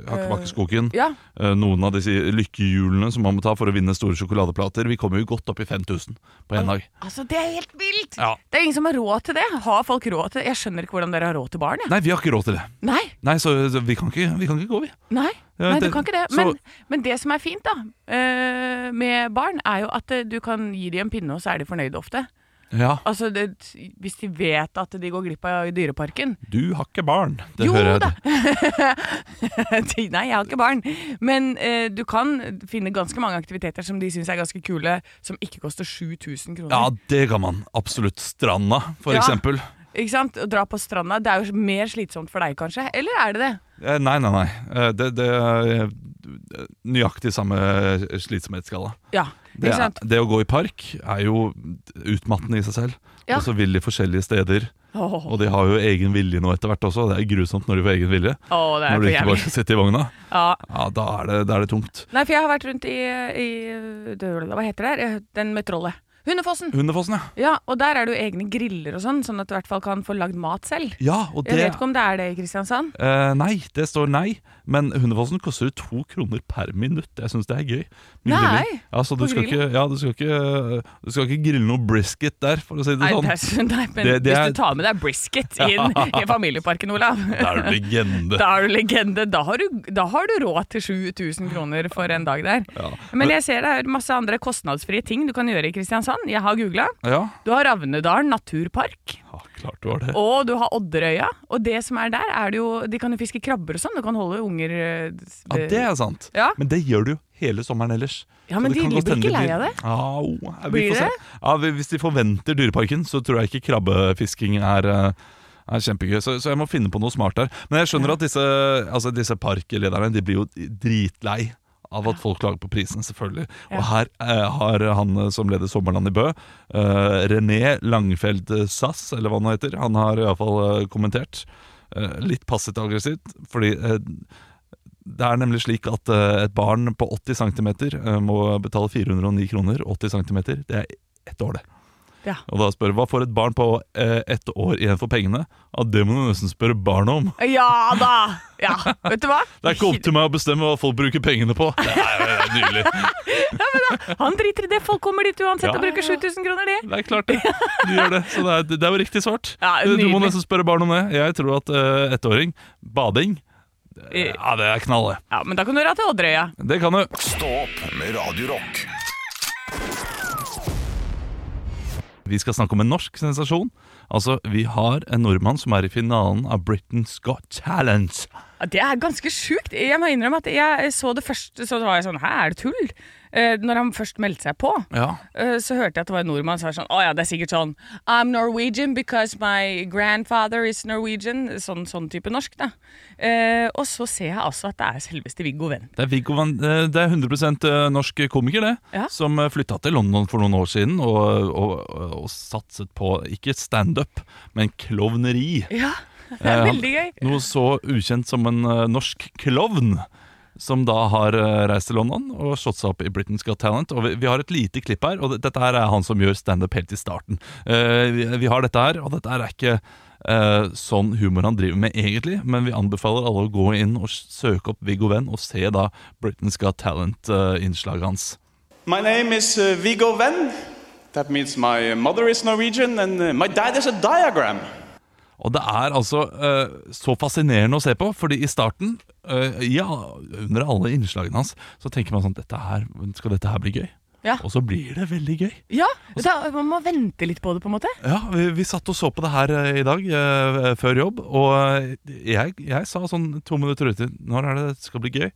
S2: Hakkebakkeskoken.
S3: Eh, Ja,
S2: ø, Noen av disse lykkehjulene som man må ta for å vinne store sjokoladeplater. Vi kommer jo godt opp i 5000 på én dag.
S3: altså Det er helt vilt!
S2: Ja.
S3: Det er ingen som har råd til det. Har folk råd til det? Jeg skjønner ikke hvordan dere har råd til barn. jeg.
S2: Nei, vi har ikke råd til det.
S3: Nei,
S2: Nei, Så så vi kan ikke, vi kan ikke gå, vi.
S3: nei,
S2: Ja,
S3: nei, du
S2: det-
S3: kan ikke det.
S2: så-
S3: Men, men det som er fint da eh, med barn, er jo at eh, du kan gi dem en pinne, og så er de fornøyde ofte.
S2: Ja,
S3: Altså det, Hvis de vet at de går glipp av i Dyreparken.
S2: Du har ikke barn. Det
S3: Jo
S2: hører jeg.
S3: da. De- nei, jeg har ikke barn. Men eh, du kan finne ganske mange aktiviteter som de syns er ganske kule, som ikke koster 7000 kroner.
S2: Ja, det kan man. Absolutt. Stranda, for
S3: Ja.
S2: eksempel.
S3: Ikke sant? Å dra på stranda, det er jo mer slitsomt for deg kanskje? Eller er det det?
S2: Eh, Nei, nei, nei. Eh, Det, det er eh, nøyaktig samme slitsomhetsskala.
S3: Ja,
S2: Det,
S3: ikke
S2: er,
S3: sant?
S2: det å gå i park er jo utmattende i seg selv.
S3: Ja.
S2: Og så vil de forskjellige steder.
S3: Åh,
S2: Og de har jo egen vilje nå etter hvert også. Det er grusomt når de får egen vilje.
S3: åh, det er
S2: Når
S3: for
S2: de ikke bare
S3: jævlig.
S2: skal sitte i vogna.
S3: Ja.
S2: Ja, da er det, da er det tungt.
S3: Nei, for jeg har vært rundt i, i det- Hva heter det? her? Den med trollet. Hundefossen!
S2: Hundefossen, ja.
S3: Ja, og der er det jo egne griller og sånn, sånn at du i hvert fall kan få lagd mat selv.
S2: Ja, og det
S3: Jeg vet ikke om det er det i Kristiansand.
S2: Eh, nei, det står nei. Men Hundefossen koster jo to kroner per minutt. Jeg syns det er gøy. Med
S3: Nei,
S2: grilling. ja, så du
S3: på
S2: skal ikke,
S3: grillen?
S2: ja, du skal, ikke, du skal ikke grille noe brisket der, for å si det
S3: Nei,
S2: sånn.
S3: det er, så- nei, men
S2: Det- det er-
S3: hvis du tar med deg brisket inn i familieparken, Olav
S2: Det er jo legende.
S3: Da er du legende. Da har du, da har du råd til 7000 kroner for en dag der.
S2: Ja.
S3: Men jeg ser det er masse andre kostnadsfrie ting du kan gjøre i Kristiansand. Jeg har googla.
S2: Ja,
S3: Du har Ravnedalen naturpark,
S2: ja klart du har det.
S3: og du har Odderøya. Og det som er der, er det jo De kan jo fiske krabber og sånn. Du kan holde unger eh,
S2: Ja, det er sant.
S3: Ja.
S2: Men det gjør du jo hele sommeren ellers.
S3: Ja, men
S2: Så det
S3: de
S2: kan
S3: blir
S2: godt hende
S3: ikke lei
S2: blir-
S3: av det?
S2: Au, ja, vi
S3: Blir
S2: får se.
S3: det?
S2: Ja, vi- hvis de forventer Dyreparken, så tror jeg ikke krabbefisking er eh, er kjempegøy, så, så jeg må finne på noe smart der. Men jeg skjønner at disse, altså disse parklederne De blir jo dritlei av at folk klager på prisen, selvfølgelig. Og her eh, har han eh, som leder Sommerland i Bø, eh, René Langfeld Sass, eller hva han heter, han har iallfall eh, kommentert. Eh, litt passivt aggressivt, fordi eh, det er nemlig slik at eh, et barn på 80 cm må betale 409 kroner. 80 cm, det er ett år, det.
S3: Ja.
S2: Og da spør jeg, Hva får et barn på eh, ett år igjen for pengene? Ja, Det må du nesten spørre barnet om.
S3: Ja da! Ja, vet du hva?
S2: Det er ikke opp til meg å bestemme hva folk bruker pengene på. Det er, det er nydelig.
S3: Han driter i det. Folk kommer dit uansett
S2: Ja.
S3: og bruker 7000 kroner, de.
S2: Det er klart, det. Du gjør det. Så det er, det er jo riktig svart.
S3: Ja,
S2: du du må
S3: nydelig.
S2: nesten spørre barnet om det. Jeg tror at eh, ettåring, bading eh, Ja, det er knall, det.
S3: Ja, men da kan du dra til Odderøya.
S2: Det kan du.
S1: Stå opp med Radio Rock.
S2: Vi skal snakke om en norsk sensasjon. Altså, Vi har en nordmann som er i finalen av Britain's Got Challenge.
S3: Ja, Det er ganske sjukt. Jeg må innrømme at jeg så det først, så var jeg sånn Hæ, er det tull? Eh, når han først meldte seg på,
S2: Ja.
S3: eh, så hørte jeg at det var en nordmann som var sånn Å ja, det er sikkert sånn I'm Norwegian because my grandfather is Norwegian. Sånn, sånn type norsk, da. Eh, og så ser jeg altså at det er selveste Viggo Venn.
S2: Det er, Viggo Van, eh, det er 100 norsk komiker, det.
S3: Ja.
S2: Som flytta til London for noen år siden og, og, og, og satset på ikke standup, men klovneri.
S3: Ja, det
S2: Eh,
S3: er
S2: han-
S3: veldig gøy.
S2: Noe så ukjent som en eh, norsk klovn. Som da har eh, reist til London og slått seg opp i Britain's Got Talent. Og vi, vi har et lite klipp her, og det, dette her er han som gjør standup helt i starten. Eh, vi, vi har dette her, og dette her er ikke eh, sånn humor han driver med egentlig, men vi anbefaler alle å gå inn og s- søke opp Viggo Venn og se da Britain's Got Talent-innslaget hans.
S8: My name is uh, Viggo Venn. That means my mother is Norwegian and uh, my dad is a diagram.
S2: Og det er altså eh, så fascinerende å se på, fordi i starten, eh, ja, under alle innslagene hans, så tenker man sånn dette her, Skal dette her bli gøy?
S3: Ja.
S2: Og så blir det veldig gøy.
S3: Ja, da, Man må vente litt på det, på en måte.
S2: Ja, vi, vi satt og så på det her eh, i dag eh, før jobb, og eh, jeg, jeg sa sånn to minutter uti Når er det det skal bli gøy?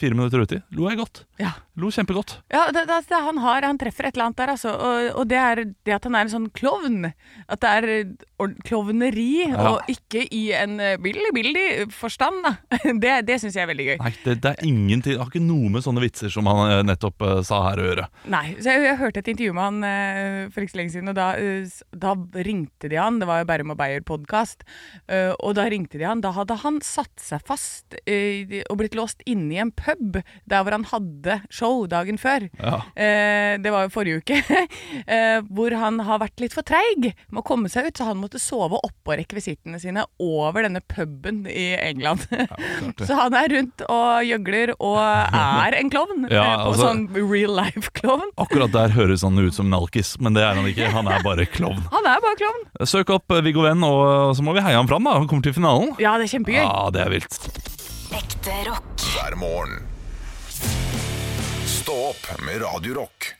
S2: Fire minutter uti lo jeg godt.
S3: Ja.
S2: Lo kjempegodt.
S3: Ja, det, det, det, han, har, han treffer et eller annet der, altså. Og, og det er det at han er en sånn klovn. At det er ord- klovneri, og ikke i en eh, billy-billy-forstand, da. Det, det syns jeg er veldig gøy. Nei,
S2: Nei, det, det er ingenting Det har ikke noe med sånne vitser som han eh, nettopp eh, sa her å gjøre.
S3: så jeg, jeg hørte et intervju med han eh, for ikke så lenge siden, og da, eh, s- da ringte de han. Det var jo Bærum og Beyer-podkast. og da ringte de han. Da hadde han satt seg fast eh, og blitt låst inne i en pub der hvor han hadde show dagen før.
S2: Ja.
S3: Eh, det var jo forrige uke. eh, hvor han har vært litt for treig med å komme seg ut, så han måtte sove oppå rekvisittene sine over denne puben i England. så han er rundt og gjøgler og er en klovn.
S2: Ja,
S3: eh, på
S2: altså-
S3: Sånn real life-klovn.
S2: Akkurat der høres han ut som nalkis, men det er han ikke. Han er bare klovn.
S3: Han er bare klovn.
S2: Søk opp eh, Viggo Venn, og så må vi heie ham fram. da Han kommer til finalen.
S3: Ja, det er kjempegøy.
S2: Ja, det er vilt.
S5: Ekte rock.
S1: Hver morgen. Stå opp med Radio Rock.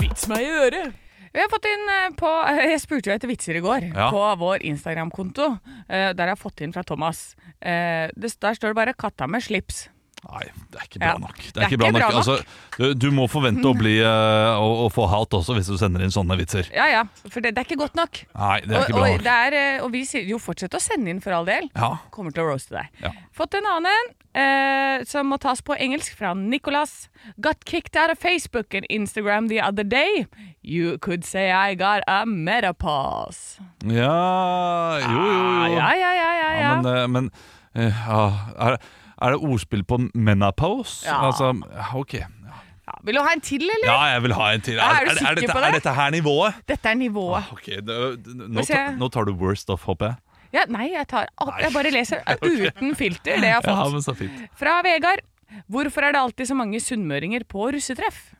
S3: Vits meg i øret. Vi har fått inn eh, på Jeg spurte jo etter vitser i går
S2: Ja.
S3: på vår Instagram-konto. Eh, Der har jeg fått inn fra Thomas. Eh, det- Der står det bare 'katta med slips'.
S2: Nei, det er ikke bra
S3: Ja.
S2: nok. Det er ikke bra nok. Altså, du, du må forvente å, bli, eh, å, å få hat også hvis du sender inn sånne vitser.
S3: Ja ja, for det, det er ikke godt nok.
S2: Nei, det er
S3: Og,
S2: ikke bra
S3: og,
S2: nok.
S3: det er, eh, og vi sier jo fortsett å sende inn for all del.
S2: Ja.
S3: Kommer til å roaste deg.
S2: Ja.
S3: Fått en annen en eh, som må tas på engelsk fra Nicolas. Got kicked out of Facebook and Instagram the other day. You could say I got a metapause.
S2: ja, jo, jo,
S3: Ah,
S2: jo.
S3: ja, ja, ja, ja, ja.
S2: Ja, men, eh, men eh, ja, er, Er det ordspill på menopause?
S3: Ja.
S2: Altså, ja, ok.
S3: Ja. Vil du ha en til, eller?
S2: eh, Ja, jeg vil ha en til.
S3: Ja, er du
S2: er,
S3: sikker
S2: dette,
S3: på det?
S2: er dette her nivået?
S3: Dette er nivået.
S2: Ok, det- nå,
S3: Få se.
S2: ta- nå tar du worst off, håper jeg.
S3: Ja, nei, jeg tar alt. Jeg bare leser uten filter, det jeg har
S2: Ja,
S3: fått.
S2: men så fint.
S3: Fra Vegard. Hvorfor er det alltid så mange sunnmøringer på russetreff?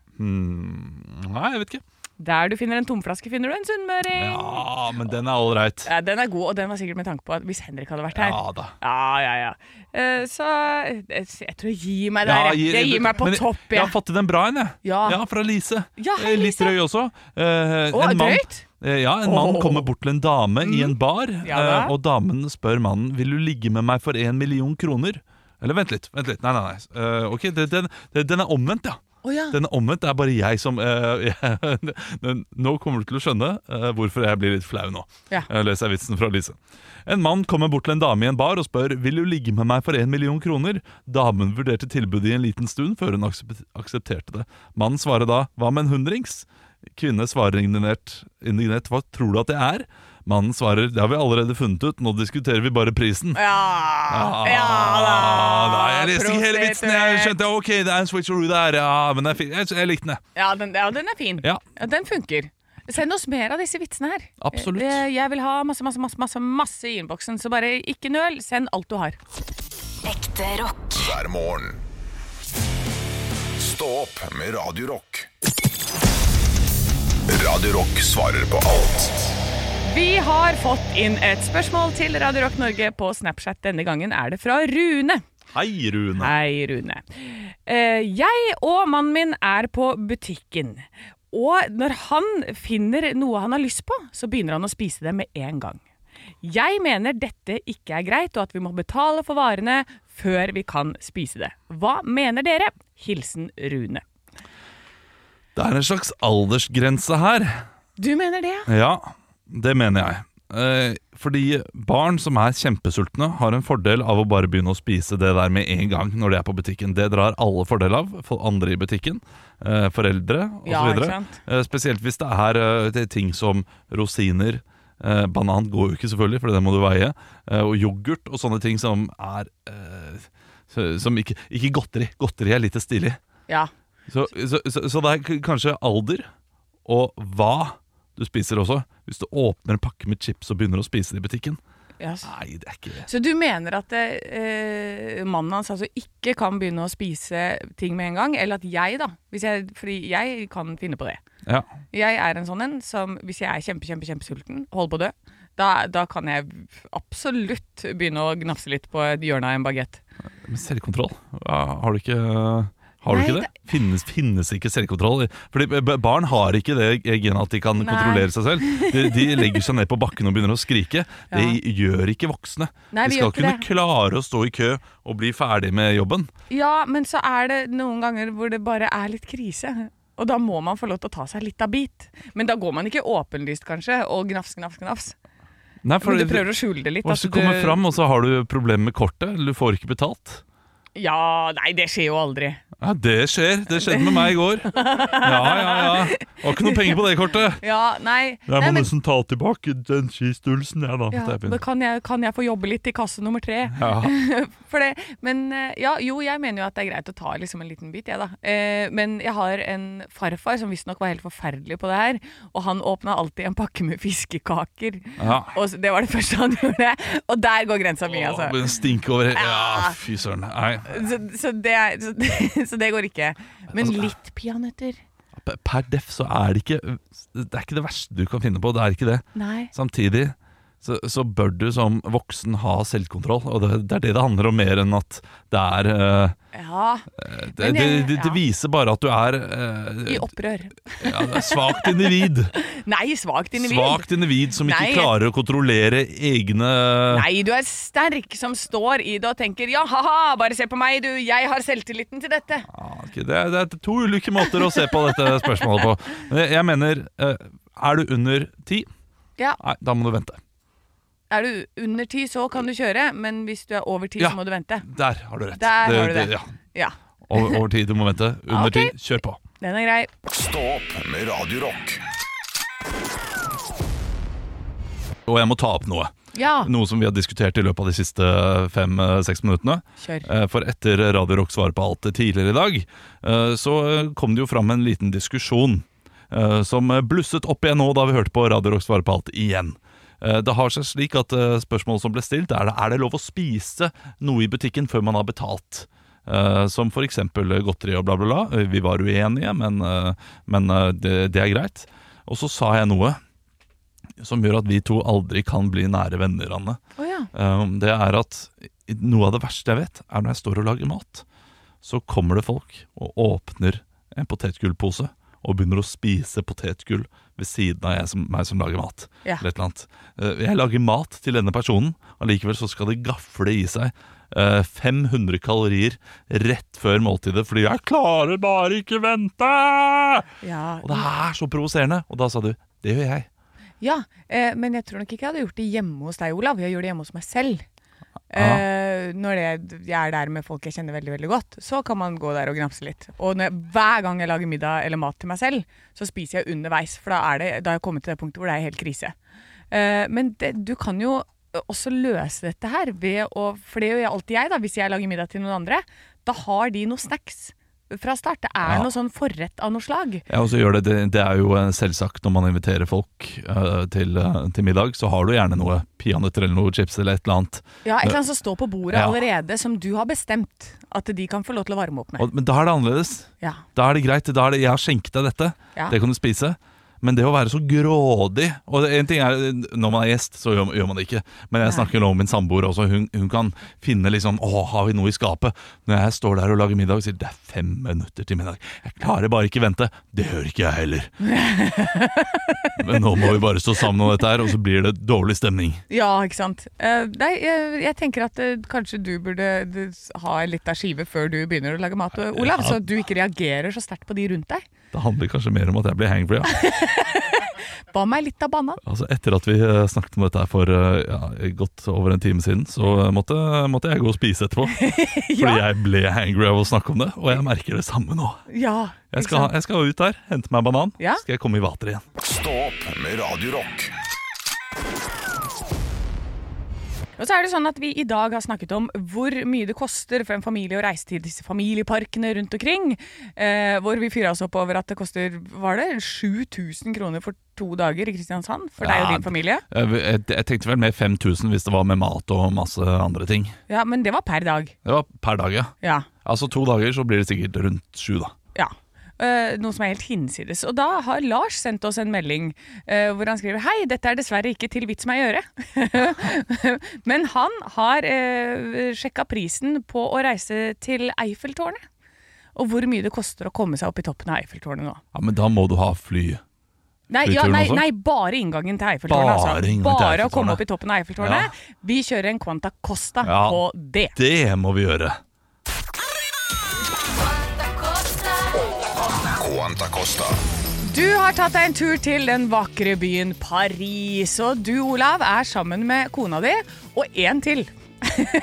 S2: Nei, jeg vet ikke.
S3: Der du finner en tomflaske, finner du en sunnmøring.
S2: Ja, men den er ålreit.
S3: Ja, den er god, og den var sikkert med tanke på at hvis Henrik hadde vært her.
S2: Ja da.
S3: Ja, ja, ja. Eh, så eh, jeg tror jeg gir meg der.
S2: Ja,
S3: jeg. jeg gir meg på
S2: men
S3: topp,
S2: Jeg har
S3: jeg.
S2: fått til den bra en, jeg.
S3: Ja.
S2: Fra Lise.
S3: Ja, hei,
S2: Eh, Litt
S3: Lise.
S2: drøy også. Eh,
S3: Å,
S2: en mann-
S3: drøyt?
S2: Eh, Ja, En mann
S3: Åh. Mm.
S2: kommer bort til en dame i en bar,
S3: Ja da.
S2: eh, og damen spør mannen Vil du ligge med meg for én million kroner. Eller vent litt. vent litt, Nei, nei, nei. Eh, ok, det, den, det, den er omvendt, ja.
S3: Å, ja.
S2: Den er omvendt. Det er bare jeg som eh, jeg, den- Nå kommer du til å skjønne eh, hvorfor jeg blir litt flau nå.
S3: Ja.
S2: Eh, leser jeg vitsen fra Lise. En mann kommer bort til en dame i en bar og spør Vil du ligge med meg for en million kroner. Damen vurderte tilbudet i en liten stund før hun aksep- aksepterte det. Mannen svarer da Hva med en hundrings? Kvinne svarer indignert, indignert Hva tror du at det er? Mannen svarer Det har vi allerede funnet ut, nå diskuterer vi bare prisen.
S3: Ja, ja da.
S2: Nei, jeg leste ikke hele vitsen. Jeg
S3: Prostituert.
S2: skjønte ok, det er en switcheroo der. Ja, men jeg, fikk, jeg, jeg likte den, jeg.
S3: Ja, den, ja, den er fin.
S2: Ja.
S3: Den funker. Send oss mer av disse vitsene her.
S2: Absolutt.
S3: Eh, Jeg vil ha masse, masse, masse, masse, masse i innboksen, så bare ikke nøl. Send alt du har.
S5: Ekte rock.
S1: hver morgen. Stå opp med Radio Rock. Radio Rock svarer på alt
S3: Vi har fått inn et spørsmål til Radio Rock Norge på Snapchat. Denne gangen er det fra Rune.
S2: Hei, Rune.
S3: Hei, Rune. Eh, jeg og mannen min er på butikken. Og når han finner noe han har lyst på, så begynner han å spise det med en gang. Jeg mener dette ikke er greit, og at vi må betale for varene før vi kan spise det. Hva mener dere? Hilsen Rune.
S2: Det er en slags aldersgrense her.
S3: Du mener det?
S2: Ja, det mener jeg. Eh, fordi barn som er kjempesultne, har en fordel av å bare begynne å spise det der med en gang når de er på butikken. Det drar alle fordel av. For andre i butikken, eh, foreldre
S3: Ja,
S2: osv.
S3: ikke sant?
S2: Eh, spesielt hvis det er eh, det er ting som rosiner eh, Banan går jo ikke, selvfølgelig, for det må du veie. eh, og yoghurt og sånne ting som er eh, så- Som ikke, ikke godteri. Godteri er lite stilig.
S3: Ja.
S2: Så, så, så, så det er k- kanskje alder og hva du spiser også. Hvis du åpner en pakke med chips og begynner å spise det i butikken
S3: ja. s-
S2: Nei, det er ikke det.
S3: Så du mener at eh, mannen hans altså ikke kan begynne å spise ting med en gang? Eller at jeg, da? Hvis jeg, fordi jeg kan finne på det.
S2: Ja.
S3: Jeg er en sånn en som hvis jeg er kjempe, kjempe, kjempesulten, holder på å dø, da, da kan jeg absolutt begynne å gnafse litt på et hjørne av en bagett.
S2: Men selvkontroll? Ja, Har du ikke har du
S3: Nei,
S2: ikke det? Finnes, finnes ikke selvkontroll? Fordi b- b- Barn har ikke det genet at de kan
S3: Nei.
S2: kontrollere seg selv. De, de legger seg ned på bakken og begynner å skrike. Det gjør ikke voksne.
S3: Nei, vi
S2: de skal
S3: gjør ikke
S2: kunne klare å stå i kø og bli ferdig med jobben.
S3: Ja, men så er det noen ganger hvor det bare er litt krise. Og da må man få lov til å ta seg litt av bit. Men da går man ikke åpenlyst, kanskje, og gnafs, gnafs, gnafs.
S2: Nei,
S3: Men du prøver å skjule det litt.
S2: Hvis
S3: at
S2: du kommer
S3: du-
S2: fram, og så har du problemer med kortet, eller du får ikke betalt
S3: Ja, nei, det skjer jo aldri.
S2: Ja, det skjer. Det skjedde med meg i går. Ja, ja, ja. Har ikke noe penger på det kortet.
S3: Ja, nei,
S2: Jeg
S3: nei
S2: må
S3: men,
S2: nesten ta tilbake den skistulsen, jeg, da.
S3: ja,
S2: måtte jeg
S3: men
S2: begynne.
S3: kan, jeg, kan jeg få jobbe litt i kasse nummer tre?
S2: Ja.
S3: For det, men eh, ja, jo, jeg mener jo at det er greit å ta liksom en liten bit, jeg da. Eh, men jeg har en farfar som visstnok var helt forferdelig på det her. Og han åpna alltid en pakke med fiskekaker.
S2: Ja.
S3: Og s- det var det første han gjorde. Og der går grensa mi,
S2: Åh,
S3: altså.
S2: men Stink over he-
S3: Ja.
S2: Ja, fy søren. Nei.
S3: Så, så, det, er- så, det- så det går ikke. Men
S2: Altså,
S3: litt peanøtter.
S2: P- Per def så er det ikke Det er ikke det verste du kan finne på. Det er ikke det.
S3: Nei.
S2: Samtidig så, så bør du som voksen ha selvkontroll, og det, det er det det handler om mer enn at det er eh,
S3: Ja.
S2: det,
S3: Men
S2: det,
S3: jeg-
S2: det, det
S3: ja.
S2: viser bare at du er
S3: I
S2: eh,
S3: opprør.
S2: ja, det er svakt individ.
S3: Nei, svakt individ.
S2: Svakt individ som ikke
S3: Nei.
S2: klarer å kontrollere egne
S3: Nei, du er sterk som står i det og tenker ja, ha-ha, bare se på meg, du, jeg har selvtilliten til dette.
S2: Ja, ok, det, er, det er to ulike måter å se på dette spørsmålet på. Men Jeg, jeg mener eh, Er du under ti?
S3: Ja.
S2: Nei, da må du vente.
S3: Er du under ti, så kan du kjøre, men hvis du er over ti,
S2: Ja.
S3: så må du vente.
S2: Der har du rett.
S3: Der har du det.
S2: ja.
S3: Ja,
S2: Over, over tid, du må vente. Under
S3: Ok.
S2: tid, kjør på.
S3: den er grei.
S1: Stå opp med Radio Rock
S2: Og jeg må ta opp noe.
S3: Ja.
S2: Noe som vi har diskutert i løpet av de siste fem-seks minuttene.
S3: Kjør.
S2: Eh, For etter Radio Rock svarer på alt tidligere i dag, eh, så eh, kom det jo fram en liten diskusjon eh, som eh, blusset opp igjen nå da vi hørte på Radio Rock svarer på alt igjen. Eh, Det har seg slik at eh, spørsmålet som ble stilt, er det, er det lov å spise noe i butikken før man har betalt? Eh, som for eksempel godteri og bla bla bla. Eh, Vi var uenige, men, eh, men eh, det, det er greit. Og så sa jeg noe som gjør at vi to aldri kan bli nære venner, Anne.
S3: Å ja.
S2: Um, Det er at noe av det verste jeg vet, er når jeg står og lager mat. Så kommer det folk og åpner en potetgullpose og begynner å spise potetgull ved siden av jeg som, meg som lager mat.
S3: Ja.
S2: Eller et eller annet. Eh, Jeg lager mat til denne personen, allikevel så skal de gafle i seg eh, 500 kalorier rett før måltidet fordi 'jeg klarer bare ikke vente'! Og det
S3: Ja.
S2: er så provoserende. Og da sa du 'det gjør jeg'.
S3: ja. Eh, men jeg tror nok ikke jeg hadde gjort det hjemme hos deg, Olav. Jeg gjør det hjemme hos meg selv.
S2: Ja.
S3: Eh, når det, jeg er der med folk jeg kjenner veldig veldig godt, så kan man gå der og gnafse litt. Og når, hver gang jeg lager middag eller mat til meg selv, så spiser jeg underveis. For da, er det, da har jeg kommet til det punktet hvor det er helt krise. Eh, men det, du kan jo også løse dette her ved å For det gjør jeg alltid jeg, da, hvis jeg lager middag til noen andre. Da har de noe snacks fra start. Det er
S2: Ja.
S3: noe sånn forrett av noe slag.
S2: Ja, og så gjør det, det, det er jo eh, selvsagt når man inviterer folk eh, til, eh, til middag, så har du gjerne noe peanøtter eller noe chips eller et eller annet.
S3: Ja, et eller annet som står på bordet
S2: Ja.
S3: allerede, som du har bestemt at de kan få lov til å varme opp med.
S2: Og, men da er det annerledes.
S3: Ja.
S2: Da er det greit. Da er det 'jeg har skjenket deg dette,
S3: Ja.
S2: det kan du spise'. Men det å være så grådig Og det- en ting er, Når man er gjest, så gjør, gjør man det ikke. Men jeg
S3: Nei.
S2: snakker nå om min samboer også. Hun, hun kan finne liksom 'Å, har vi noe i skapet?' Når jeg står der og lager middag og sier 'det er fem minutter til middag'. Jeg klarer bare ikke vente. Det gjør ikke jeg heller. Men nå må vi bare stå sammen om dette her, og så blir det dårlig stemning.
S3: ja, ikke sant. Eh, nei, jeg, jeg tenker at eh, kanskje du burde eh, ha litt av skive før du begynner å lage mat, eh, Olav.
S2: Ja.
S3: Så du ikke reagerer så sterkt på de rundt deg.
S2: Det handler kanskje mer om at jeg blir hangry. Ja.
S3: Ba meg litt av banan.
S2: Altså Etter at vi eh, snakket om dette her for eh, ja, godt over en time siden, så eh, måtte, måtte jeg gå og spise etterpå. Fordi jeg ble hangry av å snakke om det, og jeg merker det samme nå.
S3: Ja,
S2: Jeg
S3: ikke
S2: skal,
S3: sant?
S2: jeg skal ut der, hente meg en banan,
S3: Ja.
S2: skal jeg komme i vater igjen.
S1: Stå opp med Radio Rock.
S3: Og så er det sånn at vi i dag har snakket om hvor mye det koster for en familie å reise til disse familieparkene rundt omkring. Eh, hvor vi fyra oss opp over at det koster, var det 7000 kroner for to dager i Kristiansand? For deg og
S2: Ja,
S3: din familie?
S2: Jeg, jeg, jeg tenkte vel mer 5000 hvis det var med mat og masse andre ting.
S3: Ja, men det var per dag.
S2: Det var per dag, ja.
S3: Ja.
S2: Altså to dager så blir det sikkert rundt sju, da.
S3: ja. Eh, noe som er helt hinsides. Og da har Lars sendt oss en melding eh, hvor han skriver Hei, dette er dessverre ikke til vits meg å gjøre. Men han har uh, sjekka prisen på å reise til Eiffeltårnet. Og hvor mye det koster å komme seg opp i toppen av Eiffeltårnet nå.
S2: Ja, Men da må du ha fly.
S3: Nei, ja,
S2: Flyturen
S3: nei,
S2: også?
S3: nei bare inngangen til
S2: Bare
S3: Eiffeltårnet. altså.
S2: inngangen til
S3: bare å
S2: Eiffeltårnet.
S3: komme opp i toppen av Eiffeltårnet. Vi kjører en Quanta Costa
S2: Ja.
S3: på det.
S2: Det må vi gjøre.
S1: Quanta Costa.
S3: Du har tatt deg en tur til den vakre byen Paris, og du, Olav, er sammen med kona di og én til.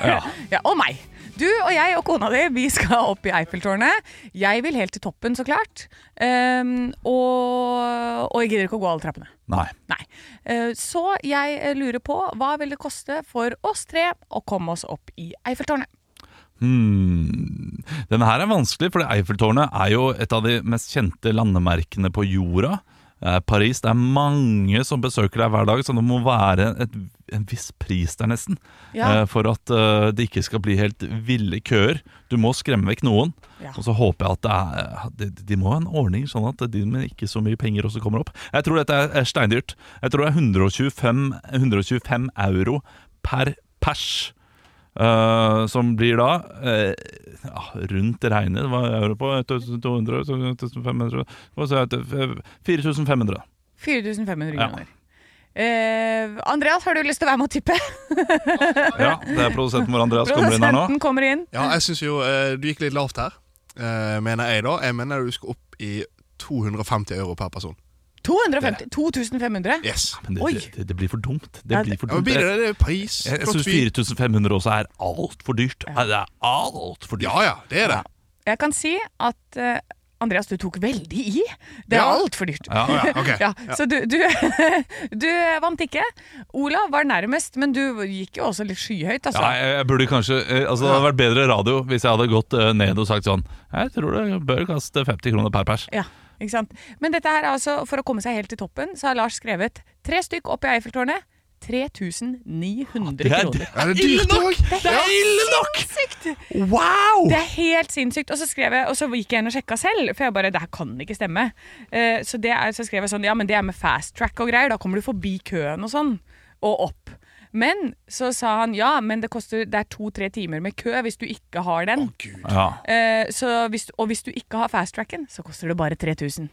S2: Ja.
S3: Ja, og meg. Du og jeg og kona di vi skal opp i Eiffeltårnet. Jeg vil helt til toppen, så klart. Ehm, og, og jeg gidder ikke å gå alle trappene.
S2: Nei.
S3: Nei. Eh, Så jeg eh, lurer på hva vil det koste for oss tre å komme oss opp i Eiffeltårnet?
S2: Hmm. Denne her er vanskelig, for Eiffeltårnet er jo et av de mest kjente landemerkene på jorda. Eh, Paris, det er mange som besøker deg hver dag, så det må være et, en viss pris der nesten.
S3: Ja.
S2: Eh, for at eh, det ikke skal bli helt ville køer. Du må skremme vekk noen.
S3: Ja.
S2: Og så håper jeg at det er, de, de må ha en ordning sånn at de med ikke så mye penger også kommer opp. Jeg tror dette er- er steindyrt. Jeg tror det er 125, 125 euro per pers. Eh, som blir da eh, ja, rundt regnet Hva er det på? 1200? 1500? Hva sa jeg? 4500.
S3: 4500
S2: Ja.
S3: kroner. Eh, Andreas, har du lyst til å være med og tippe?
S2: Ja, det er produsenten vår Andreas kommer inn her nå.
S3: Produsenten kommer inn.
S4: Ja, jeg syns jo eh, du gikk litt lavt her, eh, mener jeg da. Jeg mener du skal opp i 250 euro per person.
S3: 250, 2500?
S4: Yes.
S2: Men det,
S3: Oi.
S2: det, det, det blir for dumt. Det
S3: Ja,
S2: blir for
S4: Ja,
S2: dumt.
S4: men blir det
S2: Jeg,
S4: det? er Paris?
S2: jeg
S4: flott
S2: syns
S4: by.
S2: 4500 også er altfor dyrt. Det er altfor dyrt.
S4: Ja ja, det er det.
S3: Jeg kan si at eh, Andreas, du tok veldig i. Det er
S4: Ja.
S3: altfor dyrt.
S2: Ja,
S4: Å ja, ok.
S3: Ja, så du, du, du vant ikke. Olav var nærmest, men du gikk jo også litt skyhøyt. Altså.
S2: Ja, jeg, jeg burde kanskje eh, altså, Det hadde vært bedre radio hvis jeg hadde gått eh, ned og sagt sånn Jeg tror det bør kaste 50 kroner per pers.
S3: Ja, ikke sant? Men dette her er altså, for å komme seg helt til toppen, så har Lars skrevet tre stykk opp i Eiffeltårnet. 3900
S2: Det er-
S3: kroner.
S4: Ja, det er dyrt òg!
S3: Det er ille nok! Sinnssykt!
S2: Wow!
S3: Det er helt sinnssykt. Og så, skrev jeg, og så gikk jeg inn og sjekka selv, for jeg bare Det her kan ikke stemme. Eh, så, det er, så skrev jeg sånn Ja, men det er med fast track og greier. Da kommer du forbi køen og sånn. Og opp. Men så sa han ja, men det koster Det er to-tre timer med kø hvis du ikke har den.
S2: Ja.
S3: Eh, så hvis, og hvis du ikke har fast tracken, så koster det bare 3000.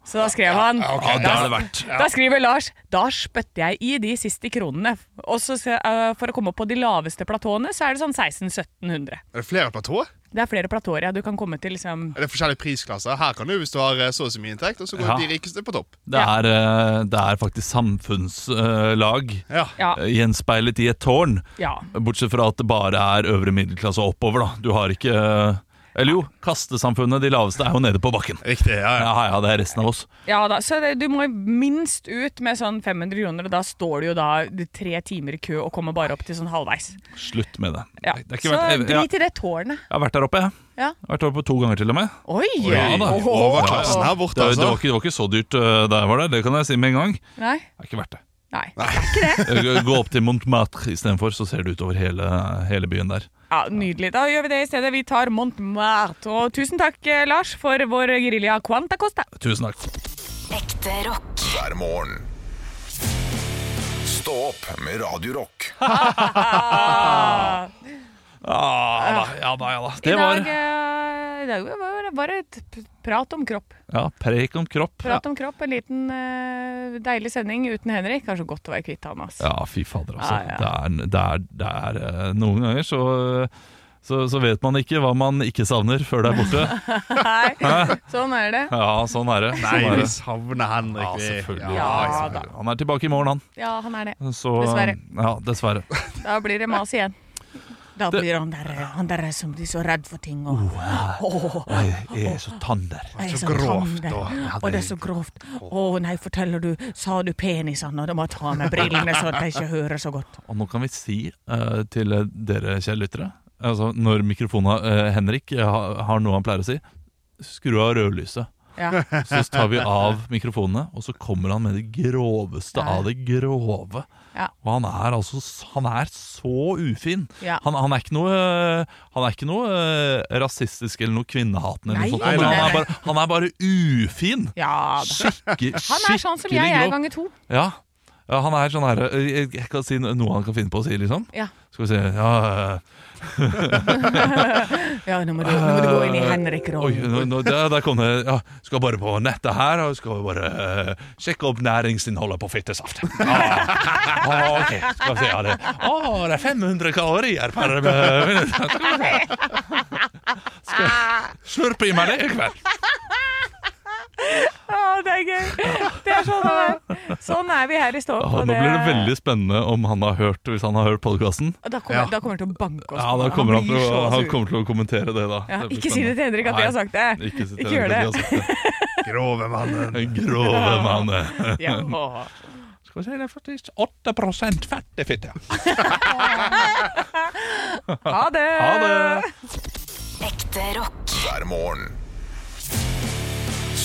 S3: Så da skrev han
S2: Ja, det er det verdt.
S3: Da skriver Lars Da spytter jeg i de siste kronene. Og så se- eh, for å komme opp på de laveste platåene, så er det sånn 1600-1700.
S4: Er det flere platåer?
S3: Det er flere platåer, ja. Du kan komme til liksom
S4: Er det forskjellige prisklasser? Her kan du hvis du har eh, så og så mye inntekt, og så går
S2: Ja.
S4: de rikeste på topp.
S2: Det er, eh, det er faktisk samfunnslag
S4: Ja.
S3: Ja.
S2: eh, gjenspeilet i et tårn.
S3: ja.
S2: Bortsett fra at det bare er øvre middelklasse og oppover, da. Du har ikke eh, Eller jo, kastesamfunnet, de laveste, er jo nede på bakken.
S4: Riktig. ja, ja.
S2: Ja, ja, det er resten av oss.
S3: ja da. Så det, du må minst ut med sånn 500 kroner, og da står du jo da tre timer i kø og kommer bare opp til sånn halvveis.
S2: Slutt med det.
S3: Ja.
S2: det er ikke
S3: Så
S2: verdt- jeg,
S3: drit i det tårnet.
S2: jeg har vært der oppe, jeg.
S3: Ja.
S2: Jeg har vært der oppe to ganger til og med.
S3: Oi!
S2: Ja da.
S3: Åhå.
S4: Overklassen her
S2: Det,
S4: borte,
S2: var- det, var
S4: altså.
S2: ikke, det var ikke så dyrt eh, der jeg var der, det kan jeg si med en gang.
S3: Nei.
S2: Det er ikke verdt det.
S3: Nei. Det er ikke det.
S2: Eh, Gå opp til Montmartre istedenfor, så ser du utover hele, hele byen der.
S3: Ja, Nydelig. Da gjør vi det i stedet. Vi tar Montmartre. Og tusen takk, eh, Lars, for vår gerilja Quanta Costa.
S2: Tusen takk.
S5: Ekte rock.
S1: hver morgen. Stå opp med Radio Rock.
S2: Ah, da, ja da, ja da.
S3: I
S2: Det
S3: dag,
S2: var
S3: eh, i dag var det bare et p- prat om kropp.
S2: ja, preik om kropp.
S3: Prat om kropp. En liten eh, deilig sending uten Henrik. Kanskje godt å være kvitt han. Altså.
S2: Ja, fy fader, altså.
S3: Ja, ja.
S2: Det, er, det, er, det er eh, Noen ganger så, så, så vet man ikke hva man ikke savner før det er borte.
S3: Nei, sånn er det.
S2: Ja, sånn er det.
S4: Nei,
S2: Sånn er
S4: vi
S2: det.
S4: savner Henrik.
S2: Ja,
S4: vi.
S2: selvfølgelig.
S3: Ja da.
S2: Han er tilbake i morgen, han.
S3: Ja, han er det.
S2: Så,
S3: Dessverre.
S2: Ja, dessverre.
S3: Da blir det mas igjen. Da
S2: Det-
S3: blir han der, han der som blir så redd for ting. Og, Åh,
S2: Jeg, jeg er så tann der.
S3: jeg er
S4: så
S3: så
S4: grovt,
S3: tam,
S4: da.
S2: Ja,
S3: Og det er så grovt. Å nei, forteller du, sa du penisene? Da må jeg ta med brillene så at jeg ikke hører så godt.
S2: Og nå kan vi si eh, til dere, kjære lyttere altså, Når mikrofonen av eh, Henrik eh, ha, har noe han pleier å si, skru av rødlyset.
S3: Ja.
S2: Så tar vi av mikrofonene, og så kommer han med det groveste av det grove.
S3: Ja.
S2: Og han er altså s- Han er så ufin.
S3: Ja.
S2: Han, han er ikke noe eh, Han er ikke noe eh, rasistisk eller noe kvinnehatende.
S3: Nei,
S2: Eller noe sånt,
S3: nei,
S2: men han
S3: nei.
S2: er bare, han er bare ufin.
S3: ja da.
S2: Skikke,
S3: Han er sånn som jeg er ganger to.
S2: Ja. ja, han er sånn her eh, jeg, jeg kan si no- noe han kan finne på å si, liksom.
S3: Ja.
S2: Skal vi se Ja, eh,
S3: ja, nå må du, nå må du gå inn i
S2: Ah, Oi,
S3: Henrik-rollen.
S2: nå, nå, der, der kom det ja, Skal bare på nettet her og skal bare eh, sjekke opp næringsinnholdet på fittesaft. Ah, ah, ok, skal vi se ja, det, ah, det er 500 kalorier per eh, minutt. Skal vi se. Skal jeg slurpe i meg det i kveld.
S3: Å, det er gøy! Det er sånn det er. Sånn er vi her i Stå opp.
S2: Ah,
S3: og
S2: nå blir det veldig spennende om han har hørt Hvis han har hørt podkasten.
S3: og Da kommer, da kommer han til å banke oss.
S2: Ja,
S3: på
S2: da
S3: det.
S2: kommer Altså, han, til
S3: blir
S2: å,
S3: så
S2: han
S3: sur.
S2: kommer til å kommentere det, da.
S3: Ja,
S2: blir
S3: ikke si det til Henrik at vi har sagt det.
S2: Nei, Ikke, si til
S3: Ikke
S2: Henrik
S3: gjør
S2: at vi har sagt
S4: Grove mannen.
S2: det. Grove mannen.
S3: Ja, å.
S2: Skal vi si det er faktisk 8 fett i fitte.
S3: Ha det!
S2: Ha det!
S5: Ekte rock.
S1: hver morgen.